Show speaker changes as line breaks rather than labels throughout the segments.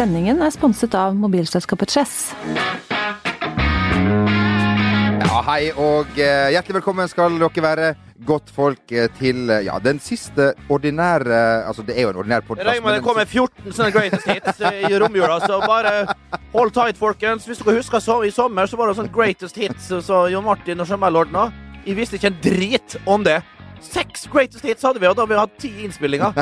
Sendingen er sponset av mobilselskapet Chess.
Ja, hei og eh, hjertelig velkommen skal dere være godt folk eh, til eh, ja, den siste ordinære Altså, det er jo en ordinær
Jeg
podkast.
regner med det kommer 14 sånne greatest hits eh, i romjula, så bare hold tight, folkens. Hvis dere husker så, i sommer, så var det sånn greatest hits så Jon Martin og Jamal ordna. Jeg visste ikke en drit om det. Seks greatest hits hadde vi, og da har vi hatt ti innspillinger.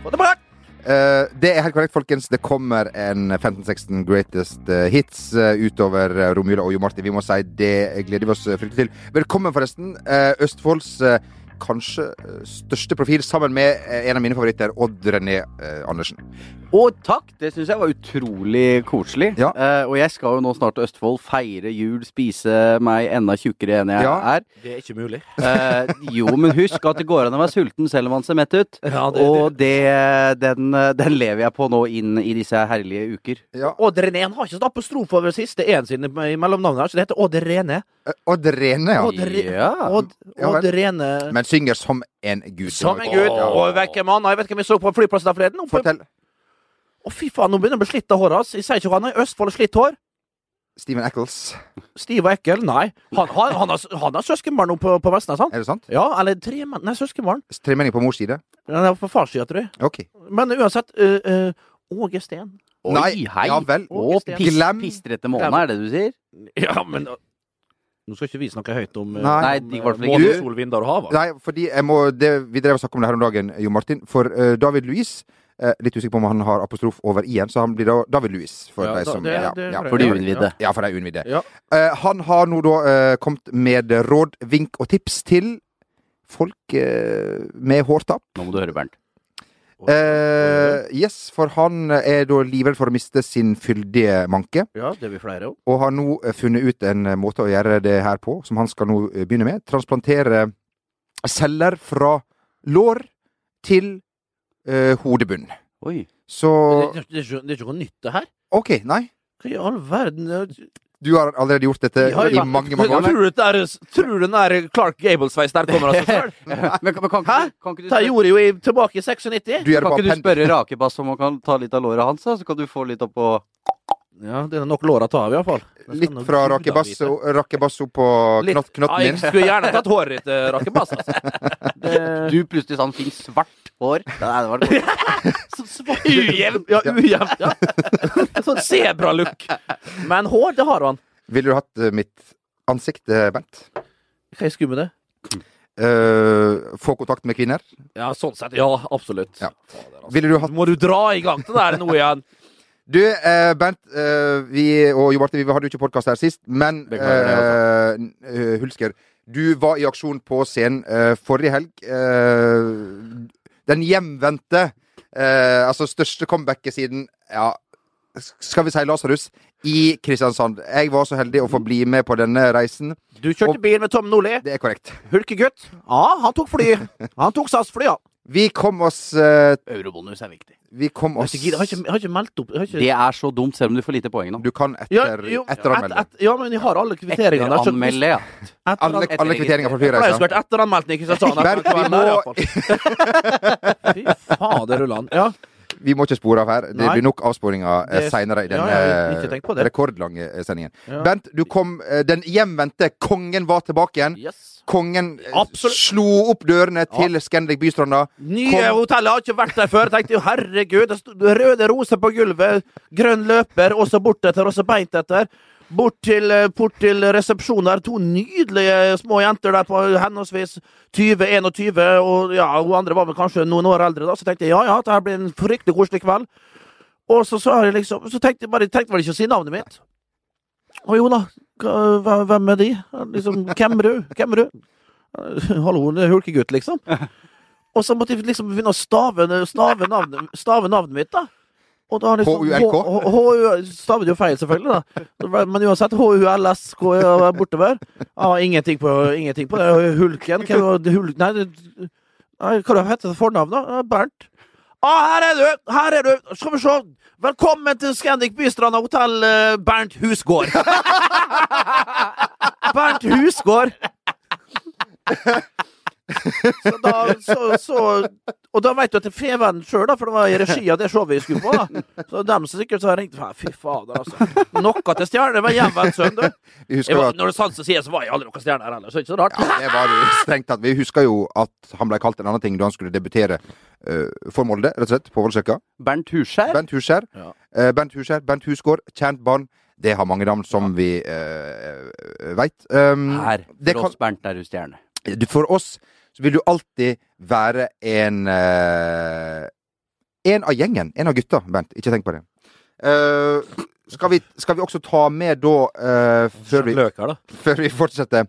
Og det bare
Eh, det er helt korrekt, folkens. Det kommer en 15-16 greatest eh, hits eh, utover eh, romjula og Jo Martin. Vi må si det gleder vi oss eh, fryktelig til. Velkommen, forresten. eh, Østfolds eh, kanskje eh, største profil, sammen med eh, en av mine favoritter, Odd René eh, Andersen.
Og takk, det syns jeg var utrolig koselig.
Ja.
Eh, og jeg skal jo nå snart til Østfold, feire jul, spise meg enda tjukkere enn jeg
Ja.
er.
Det er ikke mulig.
Eh, jo, men husk at det går an å være sulten selv om man ser mett ut.
Ja, det-
og det, den, eh, den lever jeg på nå inn i disse herlige uker.
Ja,
Odd René han har ikke sånn apostrofe over siste en sin i mellomnavnet her, så det heter Odd René.
eh, Odd Rene, ja.
Odd Re-
Ja.
Odd,
Ja,
Odd
vel.
Rene
Men synger som en gud.
Som en gud.
Ja.
Og vekk en mann. Jeg vet ikke hvem jeg så på flyplassen der forleden. Oppe-
Fortell.
Å, fy faen, nå begynner jeg å bli slitt av håret hans. Jeg sier ikke hva han er. Østfold er slitt hår.
Steven Eccles.
Stiv og ekkel? Nei. Han, han, han, har, han har søskenbarn nå på, på Vestnes, han.
Er det sant?
Ja, eller tre menn Nei, søskenbarn.
Tremenning på mors side?
Han er på fars side, tror jeg.
Ok.
Men uansett øh, øh, Åge Steen.
Oi,
Nei,
hei.
ja vel.
Og
Åge Steen.
pis,
Glem-
pistrete måne, er det du sier?
Ja, men øh, Nå skal ikke vi snakke høyt om, øh,
Nei.
Nei,
om øh,
de- i hvert fall ikke
måne,
du.
sol, vinduer og hav.
Nei, fordi jeg må, det, vi drev og snakket om det her om dagen, Jo Martin. For eh, David Louis eh, Litt usikker på om han har apostrof over i-en, så han blir da David Louis. For
Ja,
de
da-
som
det-
ja,
det-
ja,
det-
for,
For de uinnvidde.
ja, for de uinnvidde.
Ja.
Eh, han har nå da eh, kommet med råd, vink og tips til folk eh, med hårtapp.
Nå må du høre, Bernt.
Eh, yes, for han er da livredd for å miste sin fyldige manke.
Ja, det er vi flere om.
og har nå eh, funnet ut en eh, måte å gjøre det her på, som han skal nå eh, begynne med. Transplantere celler fra lår til eh, hodebunn.
Oi.
Så
Det, det, det, er ikke- det er ikke noe nytt, det her.
OK, nei.
Hva i all verden øh,
Du har allerede gjort dette
jeg har
i
jo-
mange, mange år.
Tror du det er- Tror du den der Clark Gable-sveisen der kommer av seg sjøl?
Men, men kan, kan,
Hæ?
ikke- kan ikke du
Det
spørre,
gjorde jeg jo i, tilbake i 96.
Du gjør det
kan
på
ikke du
append-
spørre Rakebass om han kan ta litt av låret hans, da? Så kan du få litt opp på
Ja, det er nok låra å ta av, iallfall.
Litt fra rakebasso rakebasso på
Litt.
knott, knotten
jeg
din.
skulle gjerne tatt håret ditt, eh, Rakebass. Altså.
Du plutselig sånn fikk svart hår. Nei, det var det
Ujevnt! Ja, ujevnt. Ja. Sånn sebralook. Men hår, det har han.
Ville du hatt eh, mitt ansikt, eh, Bent?
Hva er skummelt med det?
Eh, få kontakt med kvinner?
Ja, sånn sett. Ja, absolutt.
Ja. Ville du hatt
Må du dra i gang det der nå igjen?
Du, eh, Bernt eh, vi, og Jo Marte, vi hadde jo ikke podkast her sist, men
altså.
Beklager
eh, eh, Hulsker, du var i aksjon på scenen eh, forrige helg. Eh, den hjemvendte, eh, altså største comebacket siden ja, skal vi si Lasarus, i Kristiansand. Jeg var så heldig å få bli med på denne reisen.
Du kjørte bil med Tom Nordli.
Det er korrekt.
Hulkegutt. Ja, han tok fly. Han tok SAS-fly, ja.
Vi kom oss eh,
Eurobonus er viktig.
Vi kom
Jeg
oss
har ikke, jeg har ikke, jeg har ikke meldt opp. Jeg har ikke,
Det er så dumt, selv om du får lite poeng nå.
Du kan
ja,
etter,
jo,
etteranmelde.
et- et- ja, men jeg har alle kvitteringene. der, så-
Anmelde, ja.
Etter,
alle,
etter-
alle kvitteringer fra
jeg pleier jo
flyreisa.
skulle vært etteranmeldt i Kristiansand.
Bernt, vi
Etter-
må-
Fy fader, Ulland. Ja.
Vi må ikke spore av her. Det
Nei.
blir nok avsporinger eh,
Det-
seinere i
Ja,
denne
jeg har ikke tenkt på det.
rekordlange eh, sendingen.
Ja.
Bent, du kom eh, Den hjemvendte kongen var tilbake igjen.
Yes.
Kongen eh,
Absolutt.
slo opp dørene til Scandic Bystranda.
Nye
Kom.
hotellet har ikke vært der før. Tenkte jo, herregud, det stod røde roser på gulvet, grønn løper, og så bortetter, og så beint etter. Bort til, eh, bort til resepsjonen der, to nydelige små jenter der på henholdsvis 20-21, og ja, hun andre var vel kanskje noen år eldre da, så tenkte jeg ja, ja, det her blir en fryktelig koselig kveld. Og så sa jeg liksom, så tenkte jeg bare, tenkte vel ikke å si navnet mitt. Å jo da, hva- hva- hvem er de? Liksom, hvem er du? Hvem er du? Hallo, det er hulkegutt, liksom. Og så måtte jeg liksom begynne å stave, stave, navnet, stave navnet mitt, da. Og da liksom,
H-U-L-K?
H- H- H-U- Stavet jo feil, selvfølgelig, da. Men uansett, HULSK er bortover. Ja, ingenting på, ingenting på det. Hulken hva var det? Hul, Nei, det- nei, hva heter det fornavnet? Ja, Bernt. Å, her er du! Her er du! Skal vi se. Velkommen til Scandic Bystranda hotell, eh, Bernt Husgård. Bernt Husgård. Så da, så, så, og da veit du at det er Fevennen sjøl, for det var i regi av det showet vi skulle på. da Så dem som sikkert så har ringt Fy fader, altså. Noe til stjerne. Det var hjemvendt sønn, du.
Vi husker
Jeg
jo
var,
at
når det sanser sier, så var jeg aldri noen stjerne her heller, så det er ikke så rart.
ja, det var jo strengt tatt. Vi husker jo at han ble kalt en annen ting da han skulle debutere eh, for Molde, rett og slett, på Vollsøkka.
Bernt Huskjær?
Bent Huskjær.
Ja.
eh, Bent Huskjær, Bent Husgård, kjent barn. Det har mange navn, som vi eh, uh, veit. Um,
Her.
det
For oss, Bernt er jo stjerne.
du, for oss så vil du alltid være en eh, En av gjengen. En av gutta, Bent. Ikke tenk på det. Eh, skal, vi, skal vi også ta med da, eh, før, vi,
Løk her, da.
før vi fortsetter,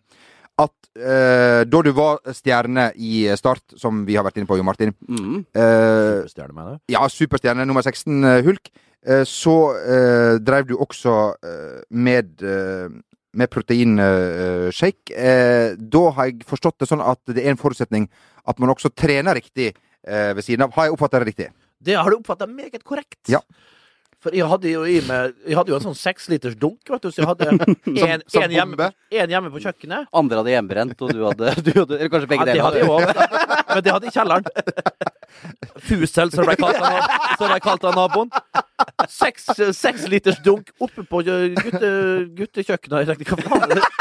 at eh, da du var stjerne i Start, som vi har vært inne på, Jo Martin
Mm.
eh,
Stjerne, mener
ja, superstjerne nummer 16, eh, Hulk. Eh, Så eh, drev du også eh, med, eh, med proteinshake. Eh, da har jeg forstått det sånn at det er en forutsetning at man også trener riktig eh, ved siden av. Har jeg oppfatta det riktig?
Det har du oppfatta meget korrekt.
Ja.
For jeg hadde jo i meg Jeg hadde jo en sånn seksliters dunk, vet du, så jeg hadde en,
som
en, hjemme,
bombe?
en hjemme på kjøkkenet.
Andre hadde hjemmebrent, og du hadde, du hadde Eller kanskje
Ja,
begge
det hadde jeg
deler.
også. Men det hadde jeg i kjelleren. Fusel, som det ble kalt av nab- som det ble kalt av naboen. Seks, seks liters dunk oppe på eh, gutte, guttekjøkkenet. Jeg tenkte, hva faen er det?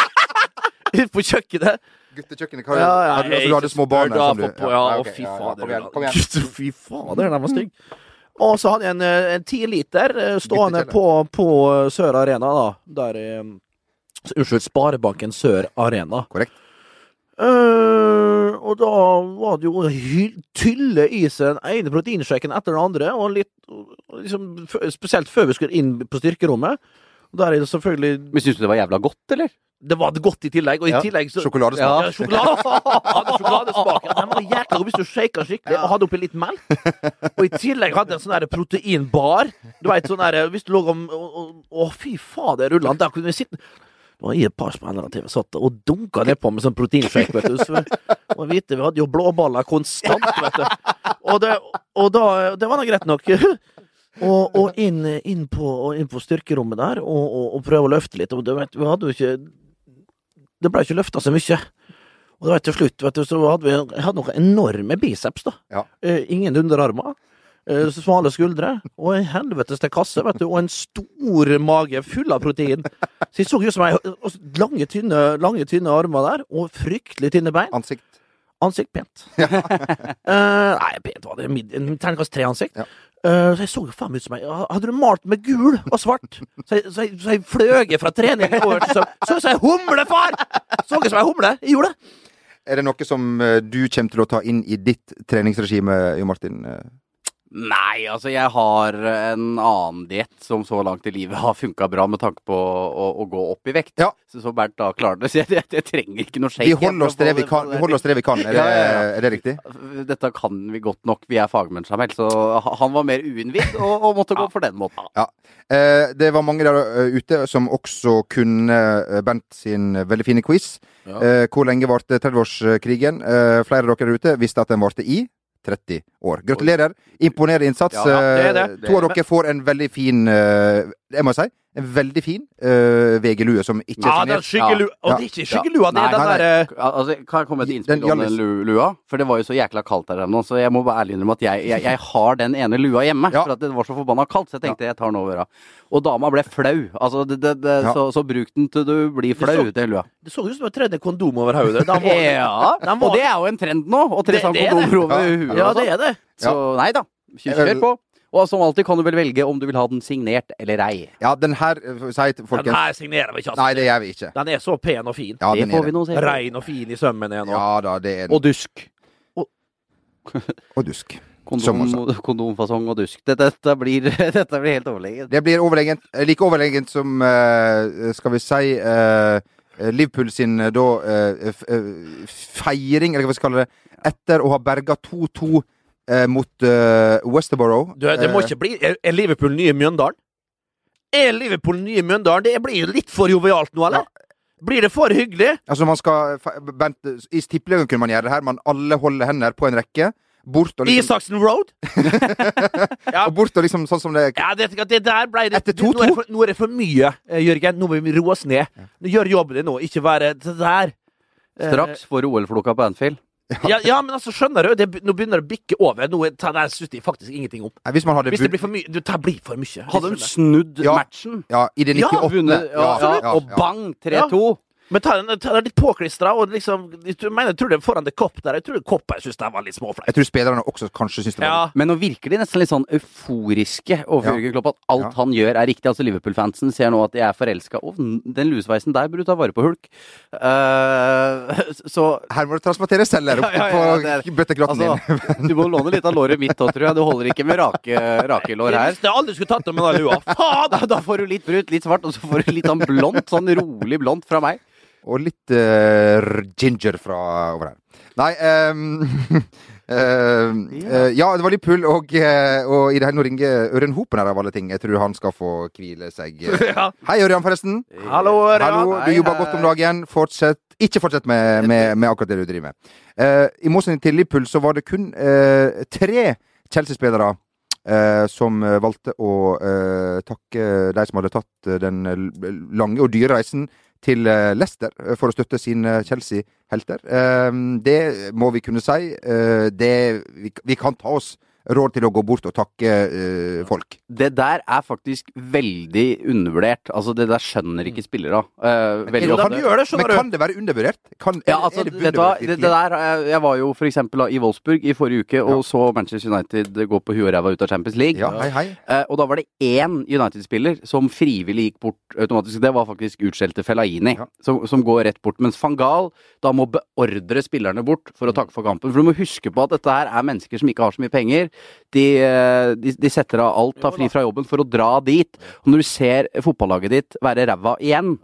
Ute på kjøkkenet.
Guttekjøkkenet, hva
Ja, ja,
har du- altså, du
jeg
hadde små barn?
spør da
som du-
på- på- Ja,
ja,
å,
ok,
fy
ja, ja,
fader.
Kom igjen. Kom igjen.
Gud, Fy fader, den var stygg. Og så hadde jeg en, eh, en 10 liter eh, stående på, på eh, Sør Arena, da. Der i eh, Unnskyld, Sparebanken Sør Arena.
Korrekt.
Eh, og da var det jo å hy- tylle i seg den ene proteinsjekken etter den andre, og litt og liksom, f- Spesielt før vi skulle inn på styrkerommet. Og der er det selvfølgelig
Men syns du det var jævla godt, eller?
Det var godt i tillegg, og i
Ja,
tillegg så
Sjokoladesmak.
ja, sjokolade, hadde sjokoladesmak. Den var jækla god hvis du shaka skikkelig og hadde oppi litt melk. Og i tillegg hadde en sånn der proteinbar. Du vet, sånn der, Hvis du lå om Å, å- å, fy fader, Rulland, der kunne vi sitte det var i et par spillere til vi satt og dunka nedpå med sånn proteinshake, vet du. Så vi må vite, vi hadde jo blåballer konstant, vet du. Og det, og da, det var da greit nok. Og, og, inn, inn på, og inn på styrkerommet der, og, og, og prøve å løfte litt. Og du vet, vi hadde jo ikke det ble ikke løfta så mye. Og det var til slutt, vet du, så hadde vi jeg hadde noen enorme biceps, da.
Ja.
Eh, ingen underarmer. Eh, smale skuldre. Og en helvetes til kasse, vet du. Og en stor mage full av protein. Så jeg så ut som ei og så lange, tynne, lange, tynne armer der, og fryktelig tynne bein.
Ansikt.
Ansikt pent. Eh, nei, pent var det. Mid, en terningkast tre-ansikt.
Ja.
så jeg så jo faen meg ut som jeg Hadde du malt med gul og svart, så jeg, så jeg, så jeg fløg fra trening over til søvn. Så ut som ei humle, far! Så ut som ei humle. Jeg gjorde det.
Er det noe som eh, du kommer til å ta inn i ditt treningsregime, Jo Martin? Eh,
Nei, altså jeg har en annen diett som så langt i livet har funka bra med tanke på å, å, å gå opp i vekt.
Ja.
Så, så Bernt da klarer det. Så jeg, jeg, jeg trenger ikke noe shake.
Vi holder oss til det vi kan. Vi holder oss til det vi kan. Er det,
Ja, ja,
er det riktig?
Dette kan vi godt nok, vi er fagmenn, Samuel. Så ha- han var mer uinnvidd og, og måtte gå for den måten.
Eh, det var mange der eh, ute som også kunne eh, Bent sin veldig fine quiz.
Ja.
Eh, hvor lenge varte 30-årskrigen? Eh, flere av dere der ute visste at den varte i 30 år. Gratulerer. Imponerende innsats.
Ja,
det er det.
Eh, To av dere får en veldig fin eh, Jeg må si en veldig fin eh, VG-lue som ikke
Ja,
er
den
signert.
skyggelua. Og det er ikke skyggelua, det
Nei,
er den eh,
nei, nei.
derre
Al- Altså, kan jeg komme med et
Den
innspill om den lu- lua? For det var jo så jækla kaldt her ennå, så jeg må bare ærlig innrømme at jeg, jeg, jeg har den ene lua hjemme.
Ja.
For at det var så forbanna kaldt, så jeg tenkte jeg tar den over. da. Og dama ble flau. Altså, det, det, det,
Ja.
så, så bruk den til du blir
så-
flau, den lua.
Det så ut som jeg tredde kondom over hodet. Da må-
Ja,
Den var-
og det er jo en trend nå. Å tre
Det- det er det.
kondomer over
Ja.
huet.
Ja,
og
det
sånn.
er det.
Så nei da, kjør kjør på. Og som alltid kan du vel velge om du vil ha den signert eller ei.
Ja, den her eh, får vi si til
Den
folkens
her signerer vi ikke,
Nei,
altså.
det gjør vi ikke.
Den er så pen og fin.
Ja,
det
den
får
er
vi
det.
nå se.
Rein og fin i sømmen er nå.
Ja da, det er den.
Og dusk.
Og dusk. Som
Kondom,
også.
kondomfasong og dusk. Dette, dette, blir, dette blir helt overlegent.
Det blir overlegent. eh, Like overlegent som eh, Skal vi si eh, Liverpool sin eh, da eh, f- eh, feiring, eller hva vi skal kalle det, etter å ha berga 2-2 eh, mot eh, Westerborough.
Du, det må
Eh,
ikke bli Er er Liverpool nye Mjøndalen? Er Liverpool nye Mjøndalen? Det blir jo litt for jovialt nå, eller? Blir det for hyggelig?
Altså man skal fe- Bent, I tippeligaen kunne man gjøre det her, men alle holder hender på en rekke. Bort og liksom,
Isaksen Road? ja.
og bort og liksom sånn som det er.
ja, det, det der ble det,
Etter
det- Nå, er det for- nå er det for mye, eh, Jørgen. Nå må vi roe oss ned. Gjør jobben din nå, ikke være det der. Eh,
Straks får du OL-floka på Anfield.
Ja, ja, men altså, skjønner du? Det, be- nå begynner det å bikke over. Nå er- det her synes de faktisk ingenting om.
Nei, eh, hvis man hadde
Hvis det
vunnet
blir for mye Du, det her blir for mye.
Hadde
Jeg
de
skjønner.
snudd
Ja.
matchen?
ja, i det
Ja,
98.
Vunnet, ja, ja, Og bang, 3-2.
Men ta den, ta den litt påklistra, og liksom Jeg mener, jeg tror det er foran The Cop der. Jeg tror The Cop jeg synes det var litt
Jeg
småfleit.
tror spillerne også kanskje syns det var
Ja.
Men nå virker de nesten litt sånn euforiske overfor
Ja.
Jørgen Klopp. At alt
Ja.
han gjør er riktig. Altså Liverpool-fansen ser nå at de er forelska. Og den lusveisen der burde du ta vare på, Hulk. Eh, så
Her må du transportere celler opp
Ja, ja, ja, det er-
på bøttekrotten din.
altså, du må låne litt av låret mitt òg, tror jeg. Det holder ikke med rake, rake lår her.
Jeg visste jeg aldri skulle tatt av meg den lua. Faen!
Da, da får du litt brunt, litt svart, og så får du litt sånn blondt, sånn rolig blondt fra meg.
Og litt eh, ginger fra over her. Nei ehm, ehm, eh, Ja, det var Liverpool, og, eh, og i det hele nå ringer Ørjan Hopen her, av alle ting. Jeg tror han skal få hvile seg.
Ja.
Hei, Ørjan, forresten.
Hallo, Ørjan.
Hallo, du
Hei,
jobber
hei.
godt om dagen. Fortsett. Ikke fortsett med, med, med akkurat det du driver med. Eh, I motsetning til Liverpool så var det kun eh, tre Chelsea-spillere eh, som eh, valgte å eh, takke de som hadde tatt eh, den l- lange og dyre reisen til eh, Leicester eh, for å støtte sine Chelsea-helter. Eh, det må vi kunne si. Eh, det, vi, vi kan ta oss råd til å gå bort og takke eh, folk.
Det der er faktisk veldig undervurdert. Altså, det der skjønner ikke spillere av. Eh, veldig
Jo, da
ofte.
du
Mm.
gjør det,
Men
skjønner du.
kan det være undervurdert? Kan,
Ja, altså,
er det
vet du hva,
undervurdert
det, det
virkelig?
der, eh, jeg var jo for eksempel da i Wolfsburg i forrige uke og
Ja.
så Manchester United gå på huet og ræva ut av Champions League.
Ja, hei, hei.
Eh, og da var det én United-spiller som frivillig gikk bort automatisk. Det var faktisk utskjelte Fellaini,
Ja.
som, som går rett bort. Mens van Gaal da må beordre spillerne bort for å takke for kampen. For du må huske på at dette her er mennesker som ikke har så mye penger. De, eh, de, de setter av alt, tar fri fra jobben for å dra dit. Og når du ser fotballaget ditt være ræva igjen,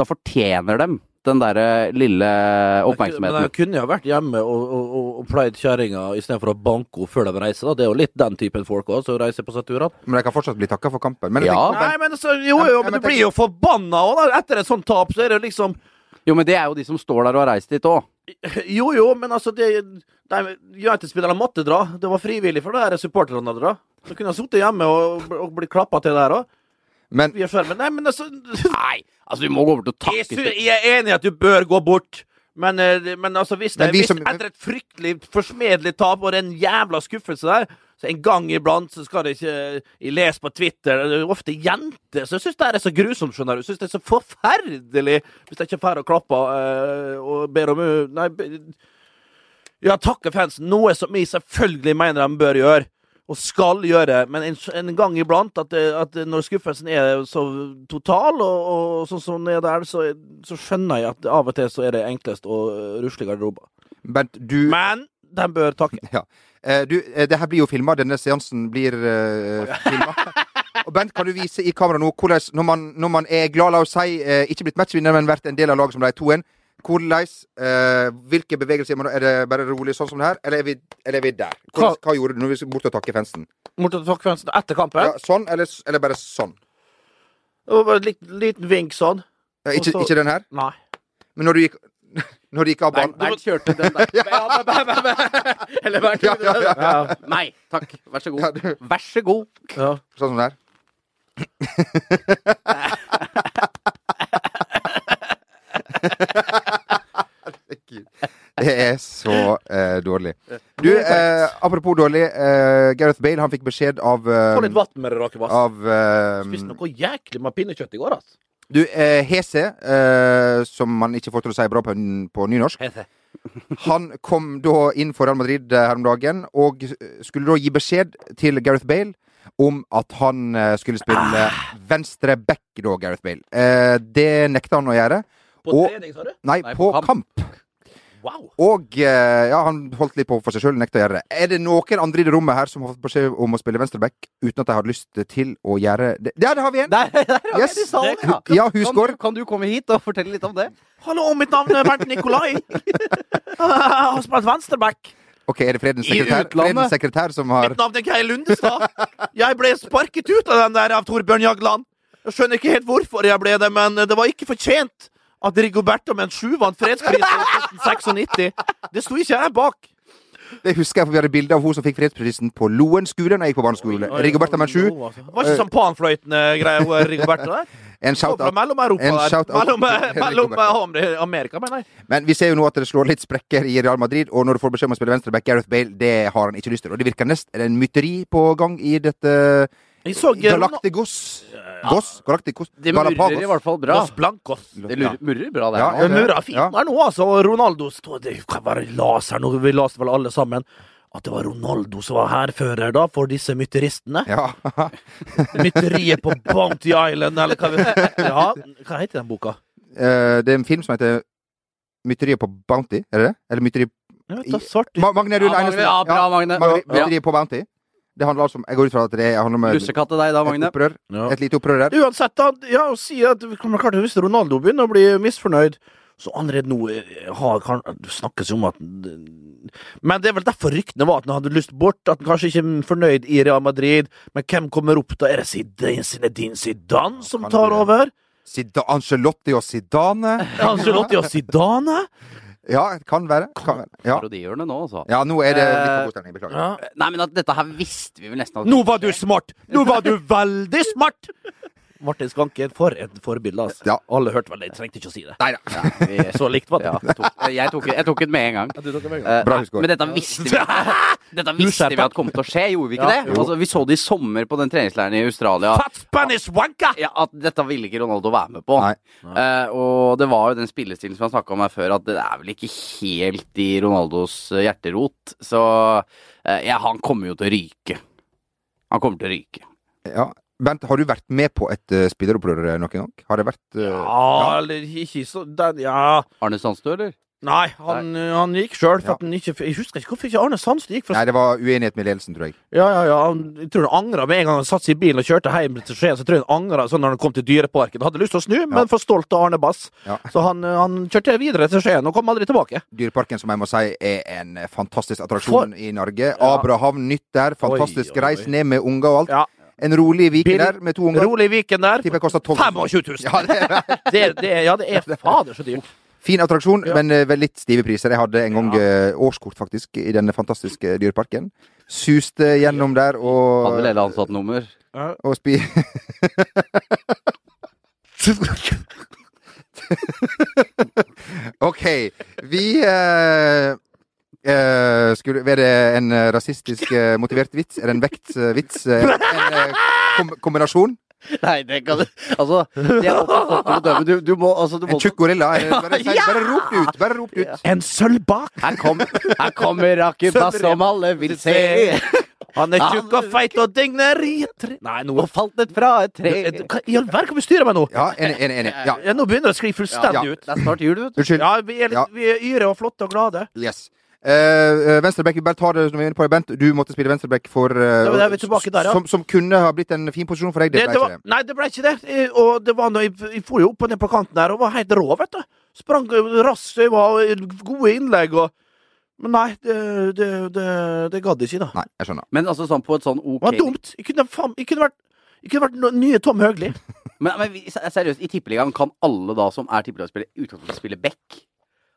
da fortjener dem den derre lille
Men
oppmerksomheten.
jeg kunne jo vært hjemme og, og, og, og pleid kjerringa istedenfor å banke henne før de reiser. Da. Det er jo litt den typen folk òg, som reiser på seg turer.
Men de kan fortsatt bli takka for kampen. Men jeg
Ja.
tenker på
Nei,
den-
men altså, jo,
Ja,
jo,
men
men du
jeg
blir jo forbanna òg, da. Etter et sånt tap, så er det jo liksom
Jo, men det er jo de som står der og har reist dit òg.
Jo, jo, men altså, det de, United-spillerne måtte dra. Det var frivillig for de der supporterne å dra. Så kunne jeg sittet hjemme og, og blitt klappa til der òg.
men,
Via skjermen. Nei, men altså
Nei, altså du må gå bort og takke
Jeg, sy- jeg er enig i at du bør gå bort. Men, eh, men altså, hvis det
Men vi
hvis
som-
etter et fryktelig forsmedelig tap og den jævla skuffelse der så En gang iblant så skal det ikke Jeg leser på Twitter det er ofte jenter som syns det her er så grusomt. skjønner du Jeg syns det er så forferdelig hvis de ikke får å klappe eh, og ber om eh, Nei, be- ja, takke fansen. Noe som vi selvfølgelig mener de bør gjøre. Og skal gjøre, men en, en gang iblant, at, det- at det- når skuffelsen er så total, og, og sånn som den er der, så, så skjønner jeg at av og til så er det enklest å øh, rusle i garderoben.
Bent, du,
Men de bør takke.
eh, du eh, Det her blir jo filma. Denne seansen blir uh, filma. Og Bent, kan du vise i kamera nå hvordan, når man, når man er glad, la oss si, eh, ikke blitt matchvinner, men vært en del av laget som de 2-1 Hvordan, eh, Hvilke bevegelser gjør man da? Er det bare rolig sånn som det her, eller er vi, eller er vi der? Hvordan, hva gjorde du når vi skulle bort og takke fansen?
Morten takke fansen etter kampen.
Ja, sånn, eller, s- eller bare sånn?
Det var bare et lit, liten vink sånn.
Eh, ikke,
Og så-
ikke den her?
Nei.
Men når du gikk, når du gikk av
Nei,
banen
Bernt kjørte den der. Ja, men- men- men- Eller Bernt
Ja,
gjorde
ja, ja,
den. Nei, takk. Vær så
Ja,
god.
du-
Vær så god.
Ja.
Sånn som det her? Herregud. Det er så eh, dårlig. Du, eh, apropos dårlig. Eh, Gareth Bale han fikk beskjed av eh,
Få litt vann med det, Rakebass.
Av eh,
Spiste noe jæklig med pinnekjøtt i går, ass.
Du, eh, Hese, eh, som man ikke får til å si bra på, på nynorsk, han kom da inn for Real Madrid eh, her om dagen og skulle da gi beskjed til Gareth Bale om at han eh, skulle spille venstre back, da, Gareth Bale. Eh, det nekta han å gjøre.
På
Og-
trening, sa du?
Nei,
Nei,
på
på kamp.
kamp.
Wow.
Og eh, ja, han holdt litt på for seg sjøl, nekta å gjøre det. Er det noen andre i det rommet her som har fått beskjed om å spille venstreback uten at de har lyst til å gjøre det? Der, der har vi en!
Der, der har
Yes.
vi det i salen, ja.
Ja,
Kan du,
Husgård.
kan du komme hit og fortelle litt om det?
Hallo, mitt navn er Bernt Nikolai. Jeg har spilt venstreback.
Ok, er det fredens
I
sekretær,
utlandet.
fredens sekretær som har
Mitt navn er Geir Lundestad. Jeg ble sparket ut av den der av Torbjørn Jagland. Jeg skjønner ikke helt hvorfor jeg ble det, men det var ikke fortjent at Rigoberto Menchu vant fredsprisen i 1996. Det sto ikke jeg bak.
Det husker jeg, for vi hadde bilde av hun som fikk fredsprisen på Loen skole da jeg gikk på barneskole. Rigoberta Menchu.
Det var ikke sånn panfløytende greier hun Rigoberto der.
En
Kom fra
shout-out.
mellom Europa
En
der.
shout-out
Mellom,
til Henrik
mellom
Roberto.
eh, Amerika, mener jeg.
Men vi ser jo nå at det slår litt sprekker i Real Madrid, og når du får beskjed om å spille venstreback, Gareth Bale, det har han ikke lyst til. Og det virker nesten er det en mytteri på gang i dette
Jeg så eh,
Galacticos. Goss? Galacticos?
Det murrer i hvert fall bra.
Los Blancos.
Det lurer- murrer bra, det.
Ja,
her
ja,
nå.
ja.
Murra fint der nå, altså. Og Ronaldo stod, Det kan være las her nå, vi leste vel alle sammen. At det var Ronaldo som var hærfører da, for disse mytteristene.
Ja.
Mytteriet på Bounty Island, eller hva vi Ja, hva heter den boka?
Eh, det er en film som heter Mytteriet på Bounty, er det det? Eller Mytteriet
Jeg vet da, svart
Ma Magne Rull
Ja, Magne,
Einarsen.
ja, bra, Magne.
Magne-
Ja.
Mytteriet på Bounty. Det handler altså om Jeg går ut fra at det handler om et,
Lussekatt til deg da, Magne.
opprør.
Ja.
Et lite opprør der.
Uansett, da, ja, å si at men klart, hvis Ronaldo begynner å bli misfornøyd Så allerede nå eh, har kan, Det snakkes jo om at Men det er vel derfor ryktene var at han hadde lyst bort, at han kanskje ikke er fornøyd i Real Madrid. Men hvem kommer opp da? Er det Zidane Zinedine Zidane som
Kan det
tar
bli det?
over?
Sida Angelotti og Zidane
Angelotti og Zidane?
Ja, det kan være. Kan være. Ja.
Parodihjørnet nå, altså.
ja, nå er det litt for god stemning. Beklager.
Nei, men at dette her visste vi vel nesten at
Eh, Nå var du smart! Nå var du veldig smart! Martin Skanke, for et forbilde, altså.
Ja.
Alle hørte vel det, jeg trengte ikke å si det.
Nei da.
Ja, vi,
Så likt var det.
ja, tok, jeg, tok, jeg tok det med en gang. Eh,
Bra
nei,
huskår.
Men dette visste vi Dette visste vi at kom til å skje, gjorde vi ikke
Ja,
det? Altså, vi så det i sommer på den treningsleiren i Australia.
Fat Spanish wanker!
Ja, at dette ville ikke Ronaldo være med på.
Nei.
Eh, og det var jo den spillestilen som jeg snakka om her før, at det er vel ikke helt i Ronaldos eh, hjerterot. Så eh, ja, han kommer jo til å ryke. Han kommer til å ryke.
Ja. Bent, har du vært med på et uh, spilleropprør eh, noen gang? Har det vært eh,
Ja, eller ikke så den, Ja.
Arne Sandstø, eller?
Nei, han, eh, han gikk sjøl.
Ja.
Ja. Jeg husker ikke hvorfor ikke Arne Sandstø gikk. For,
Nei, det var uenighet med ledelsen, tror jeg.
ja, ja, ja, han, jeg tror han angra med en gang han satte seg i bilen og kjørte hjem til Skien. Så tror jeg han angra sånn når han kom til Dyreparken. Han hadde lyst til å snu,
Ja.
men for stolt av Arne Bass.
Ja.
Så han, eh, han kjørte videre til Skien og kom aldri tilbake.
Dyreparken, som jeg må si er en eh, fantastisk attraksjon i Norge.
Ja.
Abrahavn, nytt der. Fantastisk
Oi, oi, oi.
reis ned med unger og alt.
Ja.
En rolig vike
Bil-
der med to unger.
Rolig Viken der.
Tipper jeg koster 12 000.
25 000!
Ja, det er
Det, er- det, er- ja, det er fader så dyrt.
Fin attraksjon,
Ja.
men eh, vel litt stive priser. Jeg hadde en gang eh, årskort, faktisk, i denne fantastiske dyreparken. Suste gjennom der
Hadde vel
og,
hele ansattnummer.
og spi... OK. Vi eh, eh, skulle, Er det en eh, rasistisk eh, motivert vits? Er det en vektvits? en eh, kom kombinasjon?
Nei, det kan Altså, det er også folk som dømmer. Du, du må altså du må,
En tjukk gorilla? Er det, bare, bare rop det ut! Bare rop det ut.
En sølvbak!
Her, kom, her kommer Akiba som alle vil se.
Han er
Ja,
tjukk og feit og digner i et tre Nei, nå
Og falt ned fra et tre.
Eh, Hva i all verden kan vi styre med nå?
Ja, enig, enig. enig. Ja.
Ja, nå begynner det å skli fullstendig
Ja.
ut.
Det er snart jul, vet du.
Unnskyld.
Ja, vi er, litt,
Ja.
vi er yre og flotte og glade.
Yes. Uh, venstreback, vi bare tar det når vi er inne på det, Bent. Du måtte spille venstreback for eh,
Da er vi tilbake der, ja.
som, som kunne ha blitt en fin posisjon for deg. Det,
Det, det var, nei, det ble ikke det. Eh, Og det var når jeg, jeg for jo opp og ned på kanten der og var helt rå, vet du. Sprang eh, raskt, jeg var eh, gode innlegg og Men nei, det, det, det, det gadd jeg ikke, da.
Nei, jeg skjønner.
Men altså sånn på et sånn
Det var
ok
dumt. Jeg kunne, faen- jeg kunne vært jeg kunne vært no- nye Tom Høgli.
Men, men vi- se- seriøst, i tippeligaen kan alle da som er tippeligaspillere, i utgangspunktet spille back?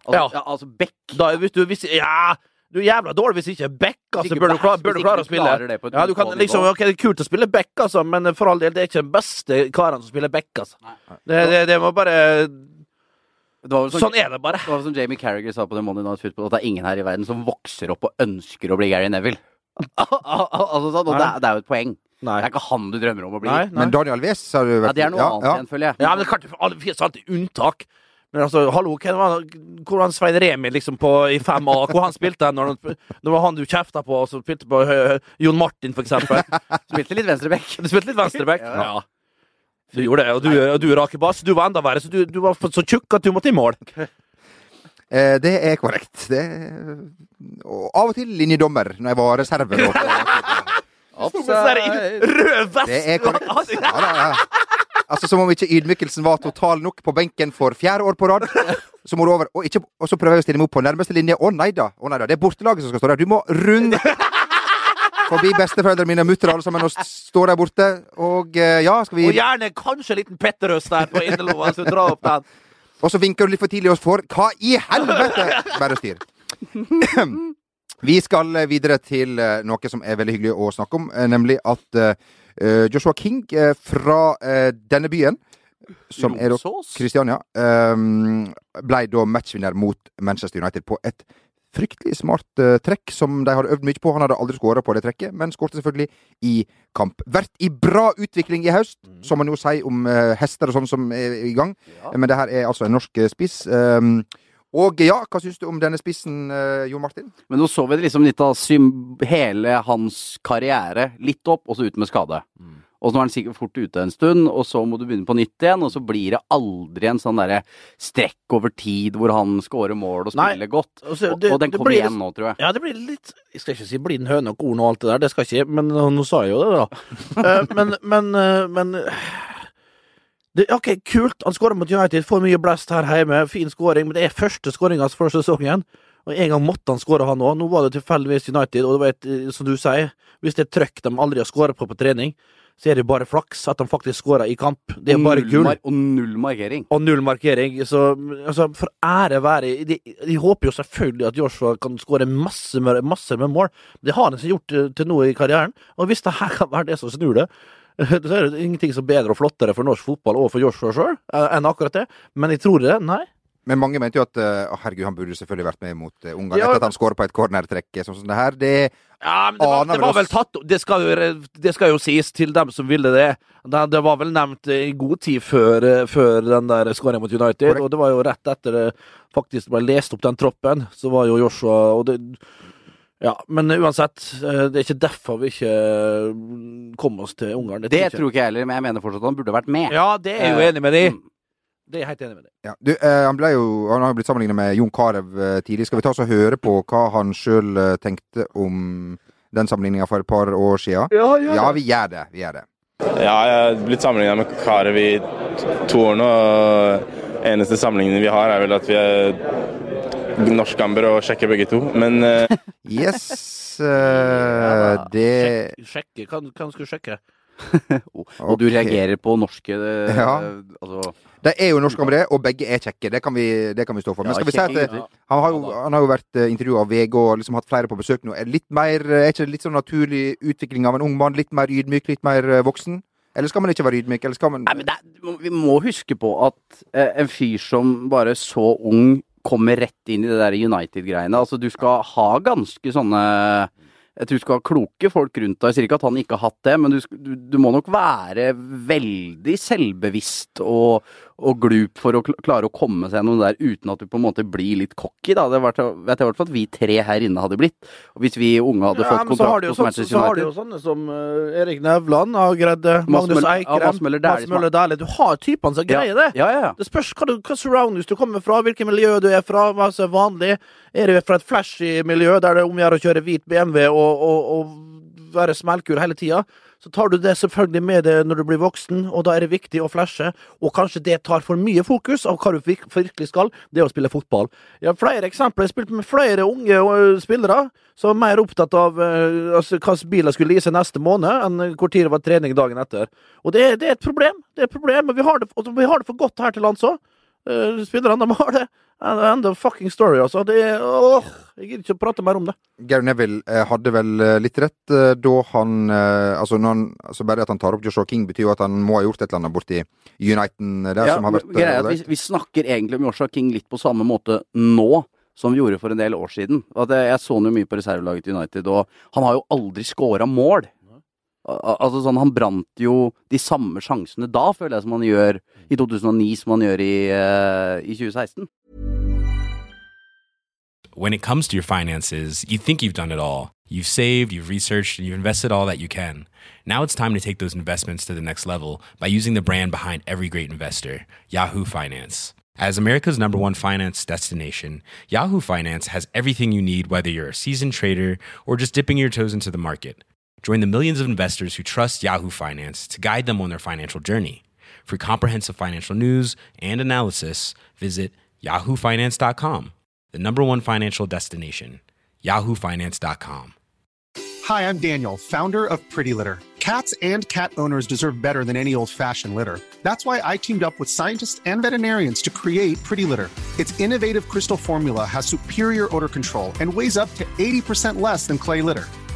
Altså,
Ja.
ja. altså back.
Da, hvis du, hvis, ja, du er jævla dårlig hvis ikke back, altså.
Hvis ikke
Bør du
back,
klare, bør
hvis
du
ikke
klare å spille?
klarer det på et
Ja, du kan
nivå.
liksom, ok, Det er kult å spille back, altså, men for all del, det er ikke den beste karen som spiller back. altså. Det, det, det må bare
Det var vel sånn,
Sånn er det bare.
det var vel som Jamie Carragher sa på The Monday Night Football, at det er ingen her i verden som vokser opp og ønsker å bli Gary Neville. altså sånn, og det,
Nei.
er- det er jo et poeng. Det
Nei.
er ikke han du drømmer om å bli.
Nei, nei.
Men Daniel Wes har du
Ja,
vært
det er noe annet
ja.
igjen, føler jeg.
Ja, men det, er klart, alle- det finnes alltid unntak. Men altså, hallo, hvem var, hvordan Svein Remi liksom på, i 5A, hvor han spilte hen? Når, han- det var han du kjefta på, som spilte på eh, Jon Martin, for eksempel.
Spilte litt venstreback.
Du spilte litt venstreback.
Ja.
Ja. Du gjorde det, og du, og du Rake Bass, du var enda verre, så du, du var så tjukk at du måtte i mål.
Eh, det er korrekt. Det er... Og av og til linjedommer når jeg var reserve. nå.
Med sånn der Rød vest!
Det er korrekt. Ja, da, ja. Altså Som om ikke ydmykelsen var total nok på benken for fjerde år på rad. Så må du over, og, ikke, og så prøver jeg å stille meg opp på nærmeste linje. Å nei da, å nei da. Det er bortelaget som skal stå der. Du må rundt forbi besteforeldrene mine og muttere alle sammen og s- stå der borte. Og eh, ja, skal vi
Og gjerne kanskje en liten Petterøes der på innerlomma. Så dra opp den.
Og så vinker du litt for tidlig og får Hva i helvete?! Bare styr. Vi skal eh, videre til eh, noe som er veldig hyggelig å snakke om, eh, nemlig at eh, Joshua King eh, fra eh, denne byen som er da
Romsås?
Kristiania, ehm, ble da matchvinner mot Manchester United på et fryktelig smart eh, trekk som de hadde øvd mye på. Han hadde aldri skåra på det trekket, men skårte selvfølgelig i kamp. Vært i bra utvikling i høst, som man jo sier om eh, hester og sånn som er i gang.
Ja.
Men det her er altså en norsk eh, spiss. ehm, og ja, hva syns du om denne spissen, eh, Jon Martin?
Men nå så vi det liksom litt av sym hele hans karriere litt opp, og så ut med skade.
Mm.
Og så er han sikkert fort ute en stund, og så må du begynne på nytt igjen, og så blir det aldri en sånn derre strekk over tid hvor han scorer mål og
Nei.
spiller godt.
Og så-
Og,
det-
og den
det
kommer
blir-
igjen nå, tror jeg.
Ja, det blir litt Jeg skal ikke si blind høne og korn og alt det der, det skal jeg ikke Men eh, nå nå sa jeg jo det, da. Eh, men, men, eh, men eh, det, OK, kult. Han skårer mot United, får mye blest her hjemme. Fin skåring, men det er første skåringa hans for sesongen. Og en gang måtte han skåre, han òg. Nå var det tilfeldigvis United, og det var et, eh, som du sier, hvis det er trøkk de aldri har skåra på på trening, så er det bare flaks at de faktisk skåra i kamp. Det er bare
Null
gull.
mar- Og null markering.
Og null markering. Så altså, for ære være de, de håper jo selvfølgelig at Joshua kan skåre masse, med- masse med mål. Det har han ikke gjort eh, til nå i karrieren. Og hvis det her kan være det som snur det, så er det ingenting som er bedre og flottere for norsk fotball og for Joshua sjøl enn akkurat det. Men jeg tror det. Nei.
Men mange mente jo at eh, å, herregud, han burde selvfølgelig vært med mot eh, Ungarn
Ja,
etter at han skåra på et cornertrekk. eh, Sånn som det her. Det
Ja, men det
Aner
var, det
vel
var vel
oss.
tatt Det skal, jo- det skal jo sies til dem som ville det. Det, det var vel nevnt eh, i god tid før, eh, før den der skåringen mot United,
Korrekt.
og det var jo rett etter det faktisk ble lest opp den troppen, så var jo Joshua og det, Ja, men uansett, eh, det er ikke derfor vi ikke eh, kom oss til Ungarn.
Det tror ikke jeg heller, men jeg mener fortsatt at han burde vært med. Eh, mm.
Ja, det er jeg
Eh,
jo enig med de. Det er jeg helt enig med de.
Ja, du, eh, han, ble jo, han har jo blitt sammenlignet med Jon Carew eh, tidlig. Skal vi ta oss og høre på hva han sjøl eh, tenkte om den sammenligninga for et par år sia? Ja, vi gjør det. Vi gjør det.
Ja, jeg har blitt sammenligna med Karev i to år nå. og Eneste sammenligningen vi har, er vel at vi er norskambere og sjekker begge to. Men eh,
Yes. eh, det
Sjekk, sjekke. Hva, hva skal du sjekke?
Og du
Ok.
reagerer på norske eh,
Ja.
altså,
De er jo norske om det, og begge er kjekke. Det kan vi, det kan vi stå for. Men
Ja,
skal vi si at
kjekke
eh,
gutter.
han har jo, han har jo vært eh, intervjua av VG og liksom hatt flere på besøk nå. Er det litt mer, eh, er ikke det litt sånn naturlig utvikling av en ung mann? Litt mer ydmyk, litt mer eh, voksen? Eller skal man ikke være ydmyk? Eller skal man
Nei, men det, er- Vi må huske på at eh, en fyr som bare så ung kommer rett inn i det der United-greiene. Altså, du skal ha ganske sånne Jeg tror du skal ha kloke folk rundt deg. Jeg sier ikke at han ikke har hatt det, men du, sk- du, du må nok være veldig selvbevisst og, og glup for å kl- klare å komme seg gjennom det der uten at du på en måte blir litt cocky, da. Det vært, vet jeg i hvert fall at vi tre her inne hadde blitt. Og hvis vi unge hadde
Ja,
fått
men så har
kontrakt
de jo
hos
sånn-
Manchester
Så har de
United
jo sånne som eh, Erik Nevland har greid det. Magnus
Møller- ja,
Eikrem.
Mads Møller Dæhlie
Mads
som har-
Møller Dæhlie. Du har typene som greier det.
Ja, ja, ja.
Det spørs hva, du, hva surroundings du kommer fra, hvilket miljø du er fra, hva som er vanlig. Er du fra et flashy miljø der det er om å gjøre å kjøre hvit BMW og, og, og være smellkul hele tida, så tar du det selvfølgelig med deg når du blir voksen, og da er det viktig å flashe. Og kanskje det tar for mye fokus av hva du virk- virkelig skal, det er å spille fotball. Jeg har flere eksempler. Jeg spilte med flere unge øh, spillere som var mer opptatt av øh, altså, hva slags bil jeg skulle lease neste måned, enn øh, hvor tid det var trening dagen etter. Og det, er- det er et problem. Det er et problem, men vi har det, og vi har det for godt her til lands òg. Spillerne de har det. And- End of fucking story, altså. Det er, åh, jeg gidder ikke å prate mer om det.
Gary Neville eh, hadde vel eh, litt rett eh, da han eh, Altså, når han, altså bare at han tar opp Joshua King, betyr jo at han må ha gjort et eller annet borti Uniten eh, der. som har vært,
men greia er
eh,
at vi, vi snakker egentlig om Joshua King litt på samme måte nå som vi gjorde for en del år siden. At jeg, jeg så han jo mye på reservelaget til United, og han har jo aldri scora mål. Al- al- Altså sånn, Han brant jo de samme sjansene da, føler jeg, som han gjør i 2009, som han gjør i, eh, i 2016.
when it comes to your finances, you think you've done it all. You've saved, you've researched, and you've invested all that you can. Now it's time to take those investments to the next level by using the brand behind every great investor, Yahoo Finance. As America's number one finance destination, Yahoo Finance has everything you need, whether you're a seasoned trader or just dipping your toes into the market. Join the millions of investors who trust Yahoo Finance to guide them on their financial journey. For comprehensive financial news and analysis, visit yahoofinance.com the number one financial destination, yahoofinance.com.
Hi, I'm Daniel, founder of Pretty Litter. Cats and cat owners deserve better than any old fashioned litter. That's why I teamed up with scientists and veterinarians to create Pretty Litter. Its innovative crystal formula has superior odor control and weighs up to 80% less than clay litter.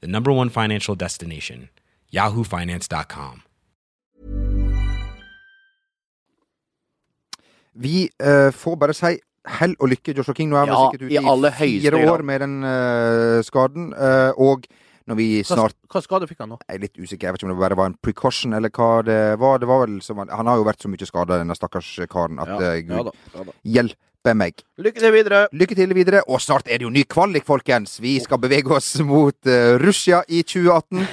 the number one financial destination, yahoofinance.com.
Vi eh, får bare si hell og lykke, Joshua King. Nå er han
Ja,
sikkert
i aller
ute i
høyeste
fire
grad.
år med den eh, skaden. eh, og når vi
Hva,
snart
hva skade fikk han nå?
Jeg er litt usikker. Jeg vet ikke om det bare var en precaution, eller hva det var. Det var vel som, han- han har jo vært så mye skada, denne stakkars karen, at eh,
ja
gud
da, ja da.
hjelpe meg.
Lykke til videre!
Lykke til videre, og snart er det jo ny kvalik, folkens! Vi skal bevege oss mot eh, Russia i 2018.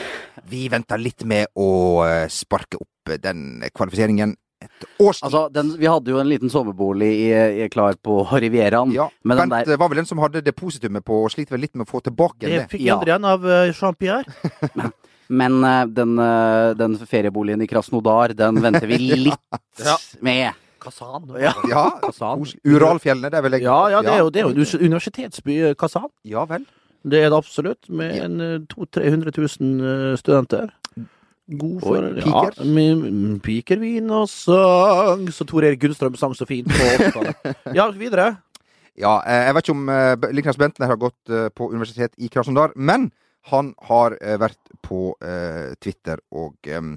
Vi venter litt med å eh, sparke opp den kvalifiseringen et års tid.
Altså, den, vi hadde jo en liten sommerbolig i, i klar på Rivieraen.
ja,
men den
Bent
der-
eh, var vel den som hadde depositumet på, og sliter vel litt med å få tilbake
Det
det.
fikk jeg
Ja.
aldri igjen av eh, Jean-Pierre.
Men eh, den, eh, den ferieboligen i Krasnodar, den venter vi litt
Ja.
med.
Kazan. Ja.
Ja,
Kazan.
kos- Uralfjellene, det er vel jeg
Ja, ja, det er jo, det er jo en us- universitetsby, eh, Kazan.
Ja vel.
Det er det absolutt, med
Ja.
en eh, 200 000-300 000 eh, studenter. God for
Oi,
ja,
piker.
med mm, pikervin og sang, så Tor Erik Gunnstrøm sang så fint på 80-tallet. Ja, videre.
Ja, eh, jeg vet ikke om eh, B- Liknas Bentner har gått eh, på universitet i Krasnodar, men han har eh, vært på eh, Twitter og em,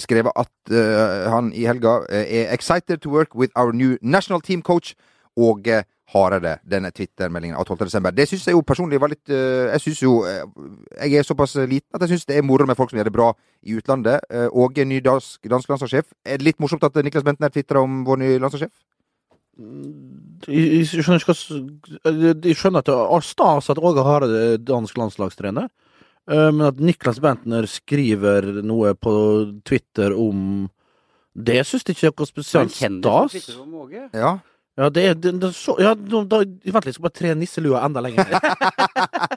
skrevet at eh, han i helga eh, er excited to work with our new national team coach og eh, hardere, denne Twitter-meldingen av 12. desember. Det syns jeg jo personlig var litt eh, Jeg syns jo eh, Jeg er såpass liten at jeg syns det er moro med folk som gjør det bra i utlandet. Eh, Åge, ny dansk, dansk landslagssjef. Er det litt morsomt at Niklas Bentner tvitra om vår nye landslagssjef?
Jeg, jeg skjønner ikke hva s- eh, Jeg skjønner at det er stas at Åge Hareide er dansk landslagstrener, eh, men at Niklas Bentner skriver noe på Twitter om det syns jeg ikke er noe
Den
spesielt
kjendisen
stas.
sitter som Åge.
Ja.
Ja, det er det, det, er så, ja, nå- da, Vent litt, jeg skal bare tre nisselua enda lenger ned.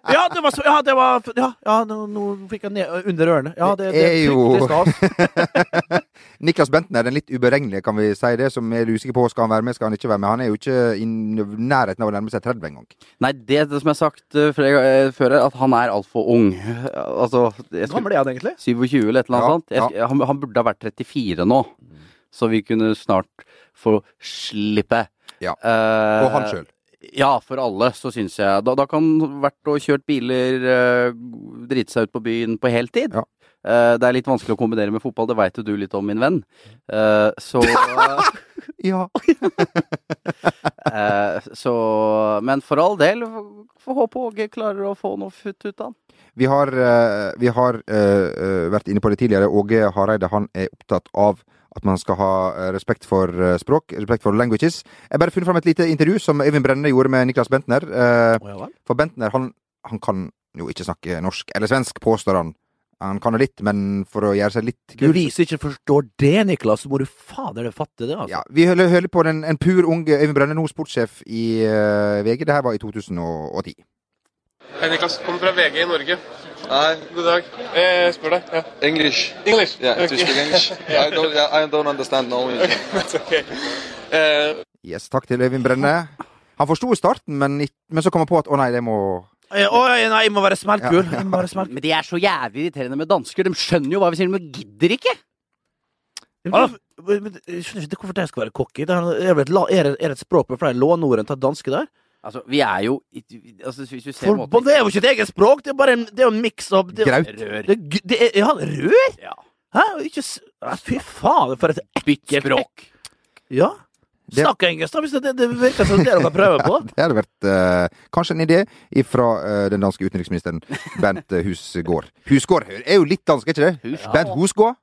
ja, det var så Ja, det var, ja, ja nå, nå fikk jeg ned øh, under ørene. Ja, det,
Det
det
er
er
jo-
fryktelig stas.
Niklas Bentner, den litt uberegnelige, kan vi si det, som er usikker på skal han være med, skal han ikke være med. Han er jo ikke i nærheten av å nærme seg 30 engang.
Nei, det, det som jeg har sagt eh, flere ganger- eh, før, er at han er altfor ung. Altså jeg
Gammel
skulle,
er han egentlig?
27 eller et eller annet
Ja,
sånt. Jeg, sk- han, han burde ha vært 34 nå. Så vi kunne snart få slippe.
Ja.
Eh,
Og han sjøl.
Ja, for alle, så syns jeg. Da, da kan vært og kjørt biler, eh, drite seg ut på byen på heltid.
Ja.
Eh, det er litt vanskelig å kombinere med fotball, det veit jo du litt om, min venn. Eh, så
Ja.
eh, Så Men for all del, får håpe Åge klarer å få noe futt ut av han.
Vi har, eh, vi har eh, eh, vært inne på det tidligere. Åge Hareide han er opptatt av at man skal ha eh, respekt for eh, språk, respekt for languages. Jeg har bare funnet fram et lite intervju som Øyvind Brenne gjorde med Niklas Bentner. eh,
Å, ja vel.
For Bentner, han, han kan jo ikke snakke norsk eller svensk, påstår han. Han kan jo litt, men for å gjøre seg litt
Du
kul
viser ikke forstår det, Niklas, så må du fader det fatte det, altså.
Ja, vi hører, hører på den, en pur unge Øyvind Brenne, nå sportssjef i eh, VG. Det her var i 2010.
Hei, Niklas. Kommer fra VG i Norge. Hei. God dag. Eh, jeg spør deg. Ja. English. English? Yeah, okay. English. I don't, understand no English. That's okay. Eh,
Yes, takk til Øyvind Brenne. Han forsto i starten, men, ikk- men så kom han på at å nei, det må
Eh, Å nei, jeg må være smeltkul. Jeg må være smeltkul.
Men de er så jævlig irriterende med dansker. De skjønner jo hva vi sier, men de gidder ikke!
Ah, men- men Jeg skjønner ikke hvorfor det skal være cocky. Det er, er, vel et la- er, det- er det et språk med flere lånord enn til danske der?
Altså, vi er jo i- i- altså, Hvis du ser
For,
måten-
men det er jo ikke et eget språk, det er bare en, det er jo en mix av det,
Graut.
Rør.
Det, er gu- det er, ja, rør?
Ja.
Hæ? Og Ikke s... Ja, Fy faen, for et ekkelt
Språk.
Ja.
Det-
Snakk engelsk, da, hvis det, det virker som det dere prøver på.
Det hadde vært eh, kanskje en idé fra den danske utenriksministeren Bent eh, Husgaard. Husgaard er jo litt dansk, er ikke det?
Husgaard.
Bent Husgaard?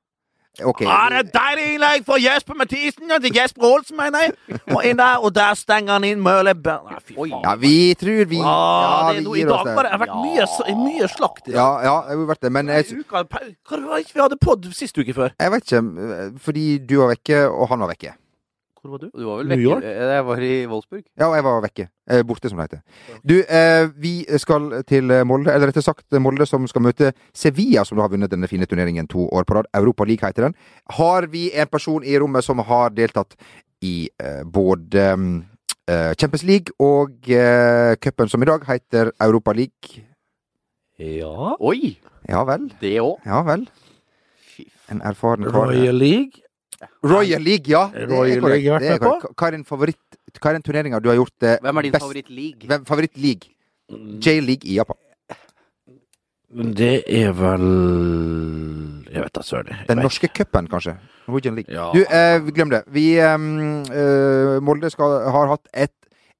Ok.
Ja, det er deilig innlegg for Jesper Mathisen og til Jesper Olsen, mener jeg. Og inn der, og der stenger han inn Møhle Bø- Nei, fy
Oi.
faen.
Ja, vi tror vi
Ah, det er
vi
noe, I
gir oss
dag
der.
var det, har vært mye, s- mye slakt. i dag.
Ja, ja, det har vært det, men jeg,
Uka, pa- hva var det ikke vi hadde podd sist uke før?
jeg vet ikke eh, Fordi du var vekke, og han var vekke.
Hvor var du?
Du var vel
New York?
vekke Jeg var i Wolfsburg.
Ja, og jeg var vekke. Eh, Borte, som det heter. Du, eh, vi skal til eh, Molde, eller rettere sagt eh, Molde som skal møte Sevilla, som da har vunnet denne fine turneringen to år på rad. Europa League heter den. Har vi en person i rommet som har deltatt i eh, både mm, eh, Champions League og eh, cupen som i dag heter Europa League?
Ja.
Oi!
Ja vel.
Det òg.
Ja vel. En erfaren kar.
Royal League.
Royal League, ja. Det er
Royal
korrekt.
League har vært
Det er
med på.
korrekt. Hva er din favoritt Hva er den turneringa du har gjort eh,
Hvem er din Mm.
best?
favorittleague?
Hvem- favorittleague? J-league i Japan.
Det er vel Jeg vet da søren. jeg
Den
vet.
norske cupen, kanskje. Norwegian League.
Ja.
Du, eh, glem det. Vi ehm, eh, Molde skal, har hatt et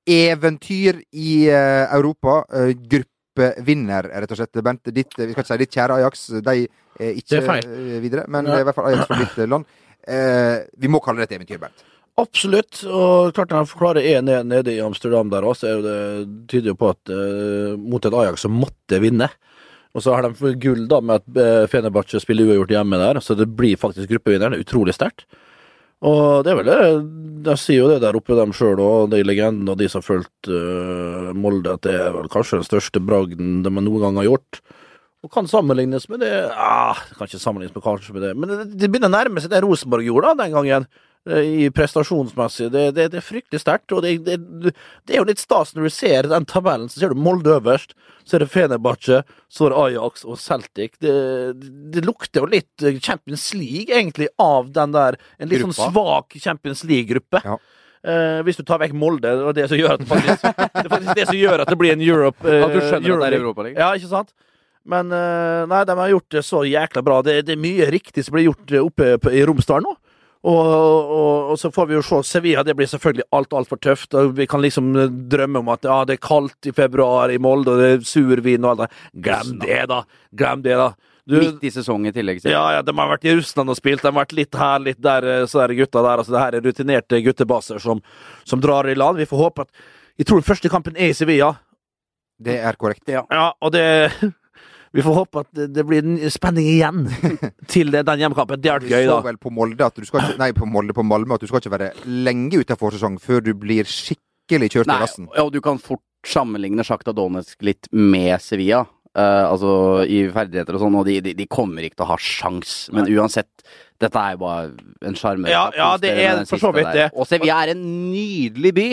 eventyr i eh, Europa. Eh, gruppevinner, rett og slett. Bent, ditt, eh, vi skal ikke si ditt kjære Ajax. De er ikke
Det er feil.
eh, videre. Men
Ja.
det er i hvert fall Ajax fra ditt eh, land. Eh, vi må kalle det et eventyr, Bent.
Absolutt. Og klart når han forklarer 1-1 nede i Amsterdam der òg, så er jo det tyder jo på at eh, mot et Ajax som måtte vinne. Og så har de fått gull da med at eh, Fenerbahçe spiller uavgjort hjemme der, så det blir faktisk gruppevinneren. Utrolig sterkt. Og det er vel det De sier jo det der oppe, dem sjøl og de legendene og de som har fulgt eh, Molde, at det er vel kanskje den største bragden de noen gang har gjort. Og kan sammenlignes med det ah, det Kan ikke sammenlignes med kanskje med det, men det, det begynner å nærme seg det Rosenborg gjorde da, den gangen. eh, I prestasjonsmessig. Det, det, det er fryktelig sterkt. Og det, det, det er jo litt stas når du ser den tabellen, så ser du Molde øverst, så er det Fenerbahçe, så er det Ajax og Celtic. Det, det lukter jo litt Champions League, egentlig, av den der En litt sånn
Gruppa.
svak Champions League-gruppe.
Ja.
Eh, hvis du tar vekk Molde, og det som gjør at det faktisk, det er faktisk det som gjør at det blir en Europe eh,
At du skjønner at det er liksom.
Euroleague.
Europaliga.
Ja, ikke sant? Men eh, nei, de har gjort det så jækla bra. Det, det er mye riktig som blir gjort eh, oppe på, i Romsdal nå. Og, og, og så får vi jo se Sevilla. Det blir selvfølgelig alt altfor tøft. og Vi kan liksom eh, drømme om at ja, det er kaldt i februar i Molde, og det er survin og alt det. Glem det, da! Glem det, da! Du,
Midt i sesongen i tillegg. sier jeg.
ja, ja, de har vært i Russland og spilt. De har vært litt her, litt der, eh, så er det gutta der. Altså, det her er rutinerte guttebaser som, som drar i land. Vi får håpe at Jeg tror den første kampen er i Sevilla.
Det er korrekt.
Ja, og det Vi får håpe at det, det blir en spenning igjen til det- den hjemmekampen. Det har
Vi
vært gøy,
så
da.
vel på Molde at du skal ikke, Nei, på Molde, på Malmö at du skal ikke være lenge utenfor sesong før du blir skikkelig kjørt i
Nei,
rassen.
ja, og du kan fort sammenligne Sjakta Donetsk litt med Sevilla. eh, altså i ferdigheter og sånn, og de, de, de kommer ikke til å ha sjans. Men uansett, dette er jo bare en sjarmør.
Ja, ja, det er for så vidt det.
Og Sevilla er en nydelig by!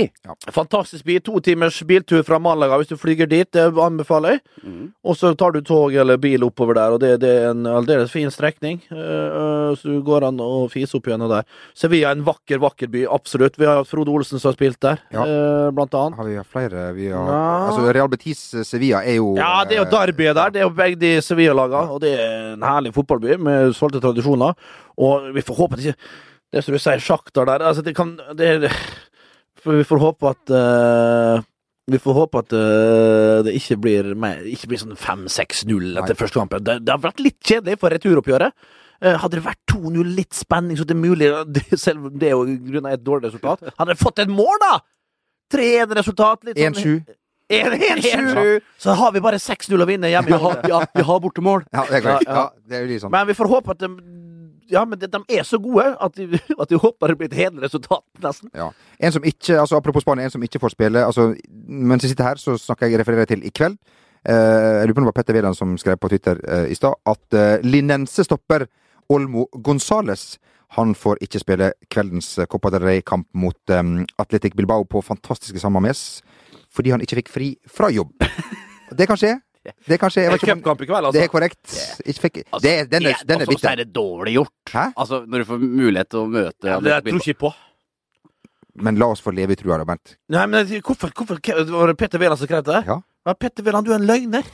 Fantastisk by. To timers biltur fra Malaga hvis du flyger dit. Det anbefaler jeg. Og så tar du tog eller bil oppover der, og det, det er en aldeles fin strekning. Eh, eh, så du går an å fise opp gjennom der. Sevilla er en vakker, vakker by. Absolutt. Vi har hatt Frode Olsen som har spilt der,
Ja.
eh, blant annet.
Har vi hatt flere? Vi har,
Ja.
Altså, Real Betis eh, Sevilla er jo eh,
Ja, det er jo derbyet der. Det er jo begge de Sevilla-lagene. Og det er en herlig fotballby med stolte tradisjoner. Og vi får håpe at ikke Det som du sier, sjakter der Altså, det kan det, er- for Vi får håpe at eh, vi får håpe at eh, det ikke blir, mer, ikke blir sånn 5-6-0 etter
Nei.
første kampen. Det, det har vært litt kjedelig for returoppgjøret. Eh, hadde det vært 2-0, litt spenning, så det er mulig det, Selv om det er jo grunnet et dårlig resultat. Hadde de fått et mål, da! 3-1 resultat. Litt sånn
1-7.
1-1-7! Så har vi bare 6-0 å vinne hjemme. i
Vi har,
Molde.
ja, vi har bortemål!
Ja, det er korrekt.
Ja, ja.
Ja, det er jo litt sånn.
Men vi får håpe at de Ja, men de, de er så gode at de, at de håper det blir et hederlig resultat, nesten.
Ja. En som ikke, altså Apropos Spania, en som ikke får spille altså, Mens jeg sitter her, så snakker jeg refererer jeg til i kveld. Eh, jeg lurer på om det var Petter Wæland som skrev på Twitter eh, i stad at eh, Linense stopper Olmo Gonzales. Han får ikke spille kveldens eh, Copa del Rey-kamp mot eh, Atletic Bilbao på fantastiske San Mamés fordi han ikke fikk fri fra jobb. Det kan skje. Det kan skje. Jeg vet ikke om,
i kveld,
det er korrekt. Ikke fikk, det, den er, den er
altså, så
bitter.
er det dårlig gjort.
Hæ?
Altså, når du får mulighet til å møte
det jeg tror ikke på.
Men la oss få leve i trua, da, Bent.
Nei, men jeg- hvorfor, hvorfor ke- Var det Petter Wæland som skrev det?
Ja.
Petter Wæland, du er en løgner!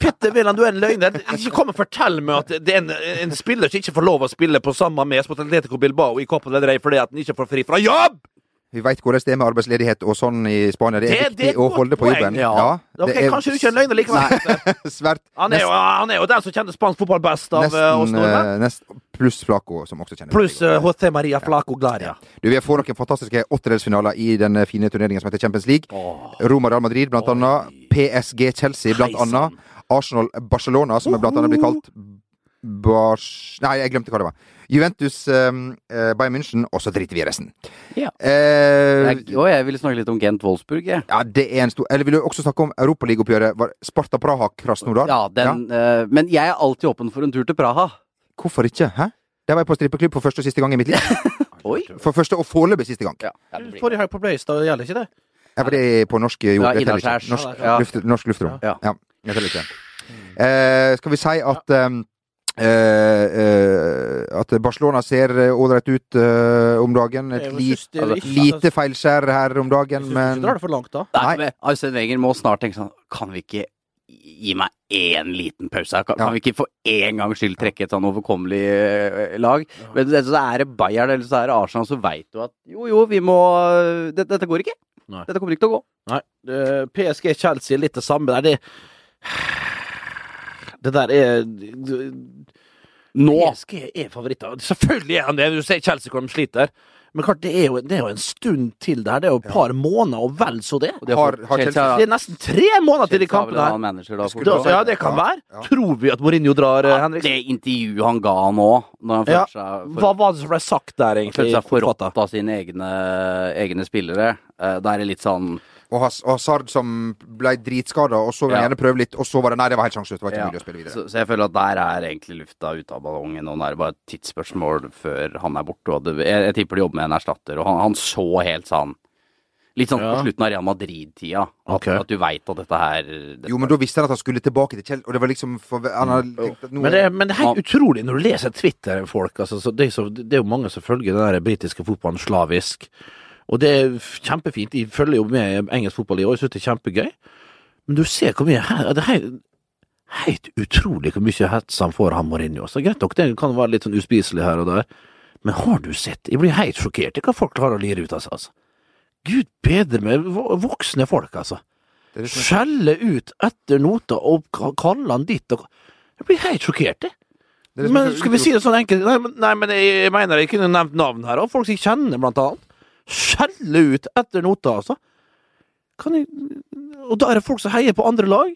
Petter Wæland, du er en løgner! Ikke kom og fortell meg at det er en, en spiller som ikke får lov å spille på samme mes mot Atletico Bilbao i Copa del Rey fordi at han ikke får fri fra jobb!
Vi veit hvordan det er med arbeidsledighet og sånn i Spania. Det er
Det- det er et
viktig å
godt
holde på
poeng.
jobben.
Ja.
Ok, Kanskje du ikke er en løgner likevel. Petter.
løgn? Svært.
Han er, jo, han er jo den som kjenner spansk fotball best av eh, oss
Nesten,
nordmenn.
eh, nest, pluss Flaco, som også kjenner
Pluss eh, José Maria Flaco Glaria.
Du, Vi får noen fantastiske åttedelsfinaler i den eh, fine turneringen som heter Champions League. Roma Real Madrid, blant annet. PSG Chelsea, blant
Heisan.
annet. Arsenal Barcelona, som er blant annet blir kalt Bars... Nei, jeg glemte hva det var. Juventus, um, Bayern München, og så driter vi i resten.
Ja.
Eh,
Jeg, å, jeg ville snakke litt om Gent Wolfsburg, jeg.
ja, det er en stor Eller vil du også snakke om Europaligaoppgjøret? Var Sparta Praha Krasnodar?
Ja, den, eh, men jeg er alltid åpen for en tur til Praha.
Hvorfor ikke? Hæ? Der var jeg på strippeklubb for første og siste gang i mitt liv.
Oi.
For første og foreløpig siste gang.
Ja, ja, det blir-
Forrige helg på Bløystad gjelder ikke det?
Jeg var det på norsk jord.
Ja,
det teller
innaskjærs.
ikke. Norsk,
Ja.
luft, norsk luftrom.
Ja.
Ja, jeg teller ikke. Eh, skal vi si at ehm, eh, eh, at Barcelona ser eh, ålreit ut eh, om dagen. Et
Jeg
lit, altså,
synes det er ikke-
lite feilskjær her om
Jeg
dagen,
synes ikke
men
du drar det for langt, da.
Nei,
Nei.
men Arsen Wenger må snart tenke sånn Kan vi ikke gi meg én liten pause? her? Kan,
Ja.
kan vi ikke for én gangs skyld trekke et sånn overkommelig eh, lag? Men det- så er det Bayern eller så er det Arsenal, så veit du at jo, jo, vi må Dette, dette går ikke.
Nei.
Dette kommer ikke til å gå.
Nei. eh, PSG Chelsea er litt det samme der. Det, det der er
Nå!
PSG er favoritter. Selvfølgelig er han det! Du ser Chelsea hvor de sliter. Men klart, det er, jo, det er jo en stund til det her. Det er jo et par måneder og vel så det.
Og det
Har- har Chelsea-
Det er nesten tre måneder til de
Chelsea har vel
kampene
en
her.
annen manager da,
Skulle
Det,
fort.
altså, ja, det kan
Ja,
være.
ja.
Tror vi at Mourinho drar, eh,
Ja,
Henrik?
det intervjuet han ga nå, når han følte
Ja.
seg
Hva var det som ble sagt der,
Han følte
egentlig?
seg forrådt av sine egne, egne spillere. Eh, Da er det litt sånn
Og Has- og Hazard som ble dritskada, og så vil han
Ja.
gjerne prøve litt, og så var det Nei, det var helt sjanseløst. Det var ikke
ja.
mulig å spille videre.
så, så jeg føler at der er egentlig lufta ute av ballongen, og nå er det bare et tidsspørsmål før han er borte. Og det, jeg, jeg tipper de jobber med en erstatter, og han, han så helt sånn Litt sånn
Ja.
på slutten av Real Madrid-tida, at,
Ok.
at du veit at dette her dette,
Jo, men da visste han at han skulle tilbake til Kjell, og det var liksom for, Han hadde tenkt at nå
Mm. Men det, men det er helt utrolig når du leser Twitter-folk. Altså, så det, er så, det er jo mange som følger den der britiske fotballen slavisk. Og det er f- kjempefint. De følger jo med engelsk fotball i år, jeg synes det er kjempegøy. Men du ser hvor mye her Det er helt, helt utrolig hvor mye hets han får, han Mourinho. Så greit nok, det kan være litt sånn uspiselig her og der. Men har du sett? Jeg blir helt sjokkert i hva folk klarer å lire ut av seg, altså. Gud bedre med vo- voksne folk, altså
det er det som er-
skjelle ut etter nota og ka- kalle han ditt og Jeg blir helt sjokkert, jeg.
det er det som er
Men
så
skal vi si det sånn enkelt Nei, men, nei, men jeg, jeg mener jeg kunne nevnt navn her, og folk som jeg kjenner, blant annet. Skjelle ut etter nota, altså. Kan jeg Og da er det folk som heier på andre lag.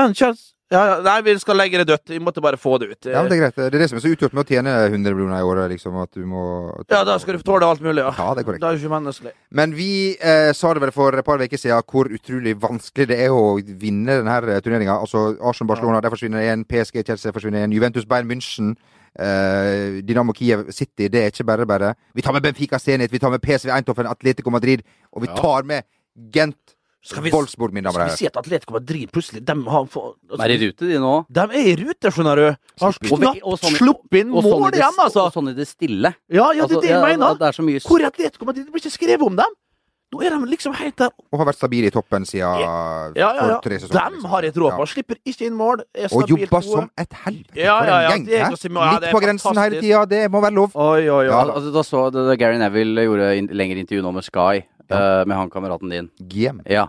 En Chelsea ja, ja, Nei, vi skal legge det dødt. Vi måtte bare få det ut.
Ja, men det er greit. Det er det som er så utgjort med å tjene 100 millioner i året, liksom, at du må
Ja, da skal du tåle alt mulig, ja.
Ja, det er korrekt.
Da er du ikke menneskelig.
Men vi eh, sa det vel for et par uker siden hvor utrolig vanskelig det er å vinne denne turneringa. Altså Arsenal-Barcelona, der forsvinner én. PSG, Chelsea forsvinner én. Juventus, Bayern München. Eh, Dynamo Kiev City, det er ikke bare bare. Vi tar med Benfica Zenit, vi tar med PSV Eindhoven, Atletico Madrid, og vi tar med Gent
Skal vi-
Wolfsburg, mine damer
Skal
og
vi
herrer.
si at Atletico Madrid plutselig De har få-
De er i rute, de nå.
De er i rute, skjønner du. Har
Og- og
knapt
sånn-
sluppet inn
og sånn i
mål
det-
igjen, altså.
Og sånn i det stille.
Ja, ja, det
Altså,
er det jeg
ja,
mener.
Det er så mye
Hvor er Atletico Madrid? Det blir ikke skrevet om dem. Nå er de liksom helt der.
Og har vært stabile i toppen siden
Ja, ja, ja.
for tre sesonger.
De har et råpa. liksom. Slipper ikke inn mål. Er
Og
stabilt
jobba
gode.
som et helvete.
Ja,
for
ja, ja,
en
det er
gjeng.
ikke å si-
hæ?
ja, det
Litt
er
på grensen hele tida,
fantastisk.
det må være lov.
Oi, oi, oi.
Ja,
Al- altså, da så det, det Gary Neville gjorde in lengre intervju nå med Sky, eh, med han kameraten din.
GM.
Ja.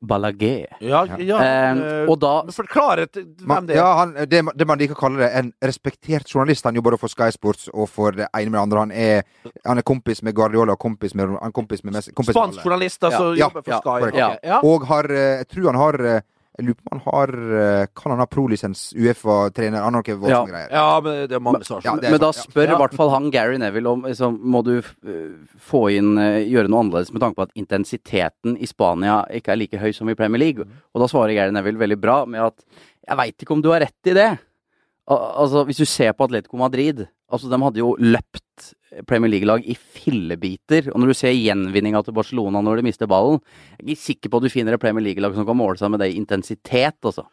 Ballagé.
Ja, ja.
Eh, og da
Men Forklar et- hvem
Man,
det er.
ja, han, det, det man liker å kalle det, en respektert journalist. Han jobber både for Sky Sports og for det ene med det andre. Han er, han er kompis med Guardiola og kompis med, han er kompis med Messi. Kompis med
Spansk
alle.
journalist som altså,
Ja,
jobber for
ja,
Sky.
korrekt.
Ok, ja.
Og har eh, Jeg tror han har eh, Jeg lurer på om han har eh, Kan han ha prolisens Uefa-trener? Han har noe voldsomme greier.
ja, men det er mange som har
Ja,
sånn.
det er
Men da
sant, ja.
spør
Ja.
i hvert fall han Gary Neville om liksom, Må du eh, få inn eh, gjøre noe annerledes med tanke på at intensiteten i Spania ikke er like høy som i Premier League? Og da svarer Gary Neville veldig bra med at Jeg veit ikke om du har rett i det. Al altså, hvis du ser på Atletico Madrid Altså, de hadde jo løpt Premier League-lag i fillebiter. Og når du ser gjenvinninga til Barcelona når de mister ballen Jeg er ikke sikker på at du finner et Premier League-lag som kan måle seg med det i intensitet, altså.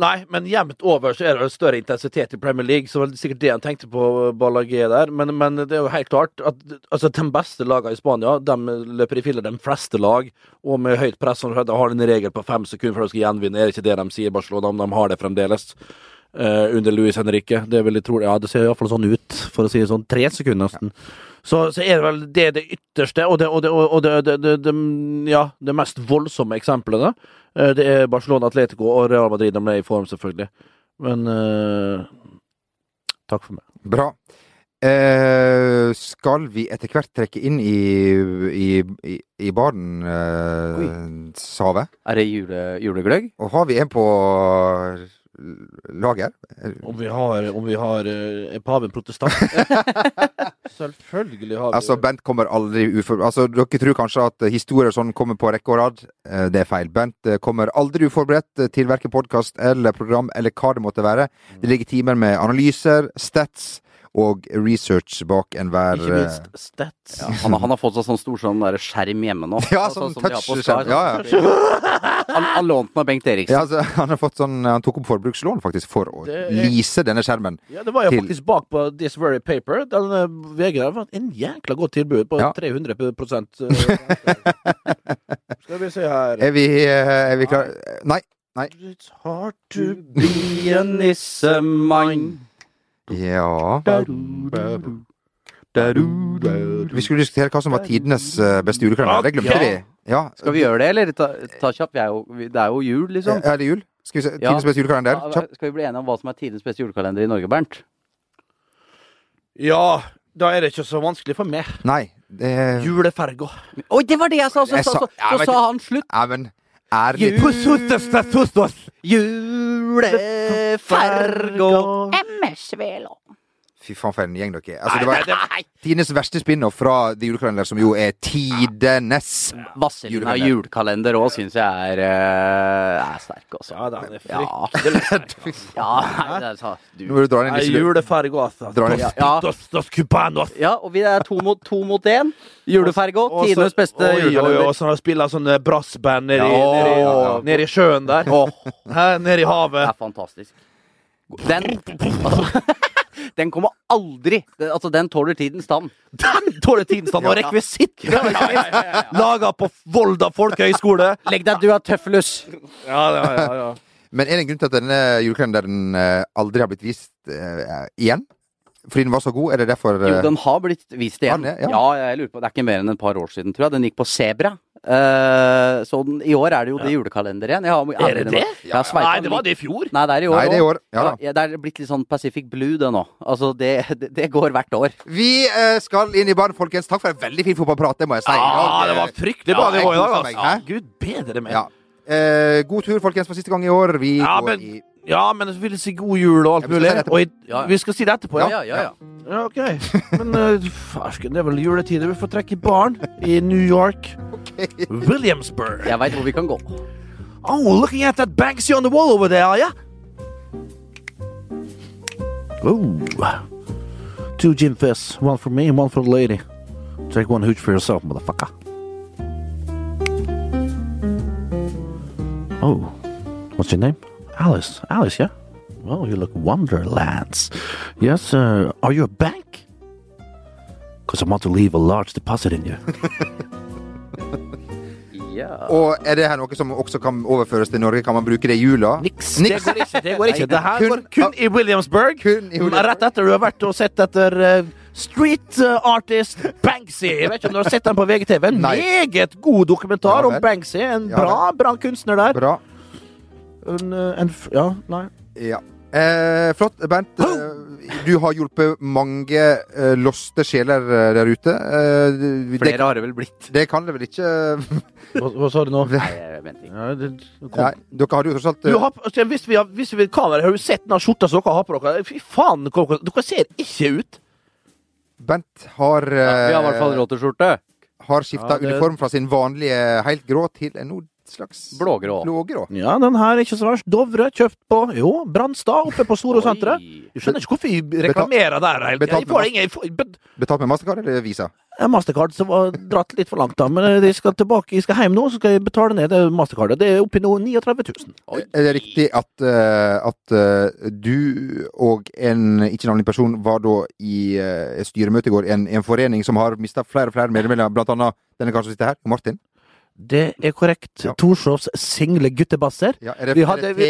Nei, men jevnt over så er det større intensitet i Premier League, så var det sikkert det han tenkte på, Ballagé der. Men, men det er jo helt klart at altså, de beste lagene i Spania de løper i filler de fleste lag, og med høyt press. Som sagt, de har en regel på fem sekunder før de skal gjenvinne, er det ikke det de sier, Barcelona, om de har det fremdeles? eh, under Luis Henrique. Det vil jeg tro. Ja, det ser iallfall sånn ut, for å si det sånn. Tre sekunder nesten. Så, så er det vel det, det ytterste, og det, og det, og det, det, det, det, ja, det mest voldsomme eksemplene. Eh, Det er Barcelona, Atletico og Real Madrid. De er i form, selvfølgelig. Men eh, Takk for meg.
Bra. Eh, skal vi etter hvert trekke inn i, i, i, i baren, eh, Save?
Er det jule, julegløgg?
Og har vi en på eh, lager? Eh,
Om vi har, om vi har eh, Er paven protestant? selvfølgelig har vi
Altså, Bent kommer aldri ufor... Altså, dere tror kanskje at historier sånn kommer på rekke og rad. Eh, Det er feil. Bent eh, kommer aldri uforberedt eh, til verken podkast eller program eller hva det måtte være. Det ligger timer med analyser, stats og research bak enhver eh,
Ikke minst Stats.
Ja, han, har- han har fått seg sånn stor sånn der skjerm hjemme nå.
Ja,
Altså,
sånn
som de har på
touch-
Sky, sånn.
ja,
Han, han lånte den av Bengt
eh, ja,
Eriksen.
altså, han, har fått sånn, han tok opp forbrukslån, faktisk, for å
Det er-
lease denne skjermen.
Ja, det var jo
til-
faktisk bak på This Very Paper. Den eh, VG der var en jækla godt tilbud på
Ja.
300 eh, Skal vi se her
Er vi, eh, er vi klare? Nei.
It's hard to be a nissemann.
Ja
Vi
Vi skulle diskutere hva som var tidenes eh, beste julekalender. Det glemte vi. Ja.
Skal vi gjøre det, eller? Ta, ta kjapp. Vi er jo, vi, det er jo jul, liksom.
Er det jul? Skal vi se,
Ja.
Tidenes beste julekalender?
Ja,
Kjapt.
Skal vi bli enige om hva som er tidens beste julekalender i Norge, Bernt?
Ja, da er det ikke så vanskelig for meg.
Nei. Det
Juleferga.
Oi, det var det jeg sa! Så,
Jeg
så,
sa-
så,
Ja,
så
men-
sa han slutt.
Ja, men ærlig
Julefergo
Fy faen, for en gjeng dere er. Altså, det var tidenes verste spin-off fra The Julekalender, som jo er tidenes.
Vazelina
Julekalender.
julekalender òg syns jeg er, eh, er sterk, altså.
Ja, den er
Ja.
fryktelig sterk.
Ja, nei, det er sa-
Nå
du.
må du dra inn
Nei,
i Liselund.
Juleferga, altså.
Drar det.
Dos,
Ja.
dos, dos cubanos.
ja, og vi er to mot to mot én. Julefergo,
Og så-
tidenes beste
oi, oi, oi, Og
julekalender.
så spiller han sånn eh, brassband nedi,
Ja.
nedi, nedi sjøen der. Hæ, Nedi havet.
Det er fantastisk. Den altså, Den kommer aldri den, Altså, den tåler tidens tann.
Den tåler tidsstand og rekvisitt! Laga på Volda folkehøgskole!
Legg deg, du er tøffelus!
Ja, ja, ja, ja.
Men er det en grunn til at denne julekalenderen eh, aldri har blitt vist eh, igjen? Fordi den var så god? Er det derfor
Jo,
eh,
den har blitt vist igjen.
Har den
ja.
det? Ja.
jeg lurer på, Det er ikke mer enn et par år siden, tror jeg. Den gikk på Sebra. Eh, så den, i år er det jo det julekalender igjen. Jeg har,
Er det det?
Jeg har sveipet
Nei, det
den
var
litt.
det i fjor.
Nei, det er i år.
Nei, det er i
også.
år. Ja da.
Ja, det er blitt litt sånn Pacific Blue, det nå. Altså, det, det, det går hvert år.
Vi eh, skal inn i baren, folkens. Takk for en veldig fin fotballprat, det må jeg si.
Ja, Ah, det var fryktelig bra
Ja, jeg
nivå i dag,
koser meg,
altså.
hæ?
Gud bedre meg.
Ja. Eh, god tur, folkens, for siste gang i år. Vi
Ja,
går
men,
i
ja, men så vil jeg si god jul og alt
Ja, vi skal si
mulig.
det etterpå.
Og i,
Ja, ja.
vi skal si det etterpå, ja.
ja, ja. ja.
ja ok. Men eh, farsken, det er vel juletider. Vi får trekke i baren i New York. Williamsburg.
Jeg veit hvor vi kan gå.
Oh, looking at that Banksy on the wall over there, yeah? Ooh. Two gin fists. One for me and one for the lady. Take one hooch for yourself, motherfucker. Oh. What's your name? Alice. Alice, yeah? Well, you look wonderlands. Yes, uh, are you a bank? Because I want to leave a large deposit in you.
Ja.
Og er det her noe som også kan overføres til Norge? Kan man bruke det i jula?
Niks.
Niks.
Det går ikke. Det, går ikke. det her
Kun-
går kun i Williamsburg.
Kun i Williamsburg.
Rett etter du har vært og sett etter eh, street eh, artist Banksy. Jeg vet ikke om du har sett den på VGTV. En
Nei.
meget god dokumentar
Ja,
om
vel.
Banksy. En
Ja,
bra, bra kunstner der.
Bra.
En, eh, en, f- ja, nei.
Ja. Eh, flott, Bernt. Eh, du har hjulpet mange eh, loste sjeler eh, der ute. Eh, det,
Flere har det vel blitt.
det kan det vel ikke eh,
Hva, hva sa du nå?
Nei, jeg vet ikke.
Ja, det, kom.
Nei, dere hadde jo tross alt
Du
eh,
har, altså, hvis vi har, hvis vi har kamera, har du sett den skjorta som dere har på dere? Fy faen, dere, dere ser ikke ut!
eh, Bernt har,
Ja, vi har i hvert fall
eh,
råteskjorte.
har skifta
Ja, det-
uniform fra sin vanlige helt grå til en nå slags
Blågrå.
blågrå.
Ja, den her er ikke så verst. Dovre, kjøpt på Jo, Brannstad, oppe på Storosenteret.
Oi.
Jeg skjønner ikke hvorfor vi reklamerer der. hele tiden. Jeg
Betalt med
får ingen jeg får, bet-
Betalt med Mastercard eller Visa?
Eh, Mastercard som var dratt litt for langt, da. Men eh, jeg skal tilbake, jeg skal hjem nå, så skal jeg betale ned det mastercardet. Det er oppi nå 39 000.
Oi.
Er det riktig at, eh, at eh, du og en ikke-navnlig person var da i eh, styremøte i går i en, en forening som har mista flere og flere medlemmer, blant annet denne karen som sitter her, Martin?
Det er korrekt.
Ja.
Torshovs single guttebasser.
Ja, er det,
Vi
er
hadde-
det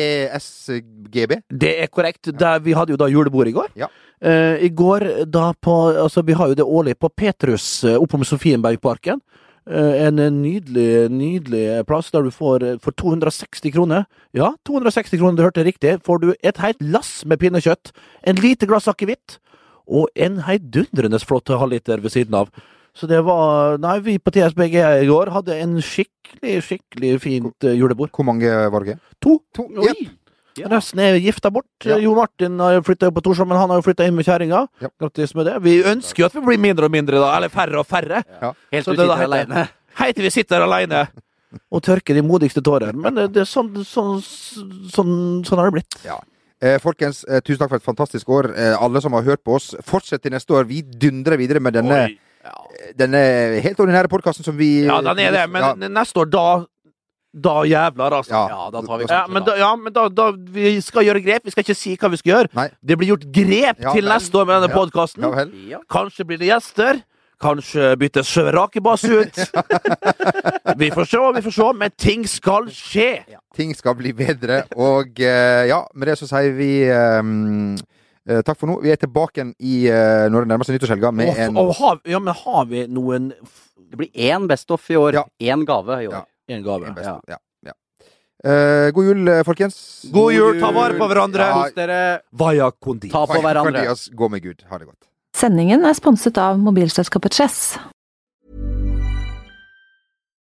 TSGB?
Det er korrekt. Der, vi hadde jo da julebord i går.
Ja.
Eh, I går da på Altså, vi har jo det årlig på Petrus eh, oppe om Sofienbergparken. Eh, en nydelig, nydelig plass der du får eh, for 260 kroner. Ja, 260 kroner, du hørte riktig. Får du et helt lass med pinnekjøtt, en lite glass akevitt og en heidundrende flott halvliter ved siden av. Så det var Nei, vi på TSBG i går hadde en skikkelig, skikkelig fint eh, julebord.
Hvor mange var det?
To.
To?
Oi.
Jep.
Ja.
Resten er gifta bort.
Ja.
Jo Martin har jo flytta på Torshov, men han har jo flytta inn med kjerringa.
Ja.
Grattis med det. Vi ønsker jo at vi blir mindre og mindre, da. Eller færre og færre.
Helt
Så
til
det
du
da
sitter
heter-
aleine.
Hei til vi sitter aleine og tørker de modigste tårer. Men det, det er sånn, sånn, sånn, sånn har det blitt.
Eh, folkens, eh, tusen takk for et fantastisk år. Eh, alle som har hørt på oss, fortsett til neste år. Vi dundrer videre med denne, eh, denne helt ordinære podkasten som vi
Ja, den er det. Men
Ja,
neste år, da Da jævlar, altså.
ja.
Ja, da tar vi
Ja, men, da, ja, men da, da Vi skal gjøre grep. Vi skal ikke si hva vi skal gjøre.
Nei.
Det blir gjort grep
Ja,
til
men-
neste år med denne
Ja.
podkasten.
Ja vel.
Ja.
Kanskje blir det gjester. Kanskje byttes Rakebass ut. vi får se, vi får se. Men ting skal skje.
Ting skal bli bedre. Og eh, ja, med det så sier vi eh, eh, takk for nå. Vi er tilbake igjen i eh, når det nærmer seg nyttårshelga med
Og,
en
og har, ja, men har vi noen f-
Det blir én Best of i år.
Ja.
Én gave i år.
Ja.
en gave?
best, ja. Ja. Eh, god jul, eh, folkens.
God jul, ta vare på hverandre.
Ja,
Kos dere.
Vaya kondi.
Ta på hverandre.
Fordi oss,
altså.
Gå med Gud. Ha det godt.
Sendingen er sponset av mobilselskapet Chess.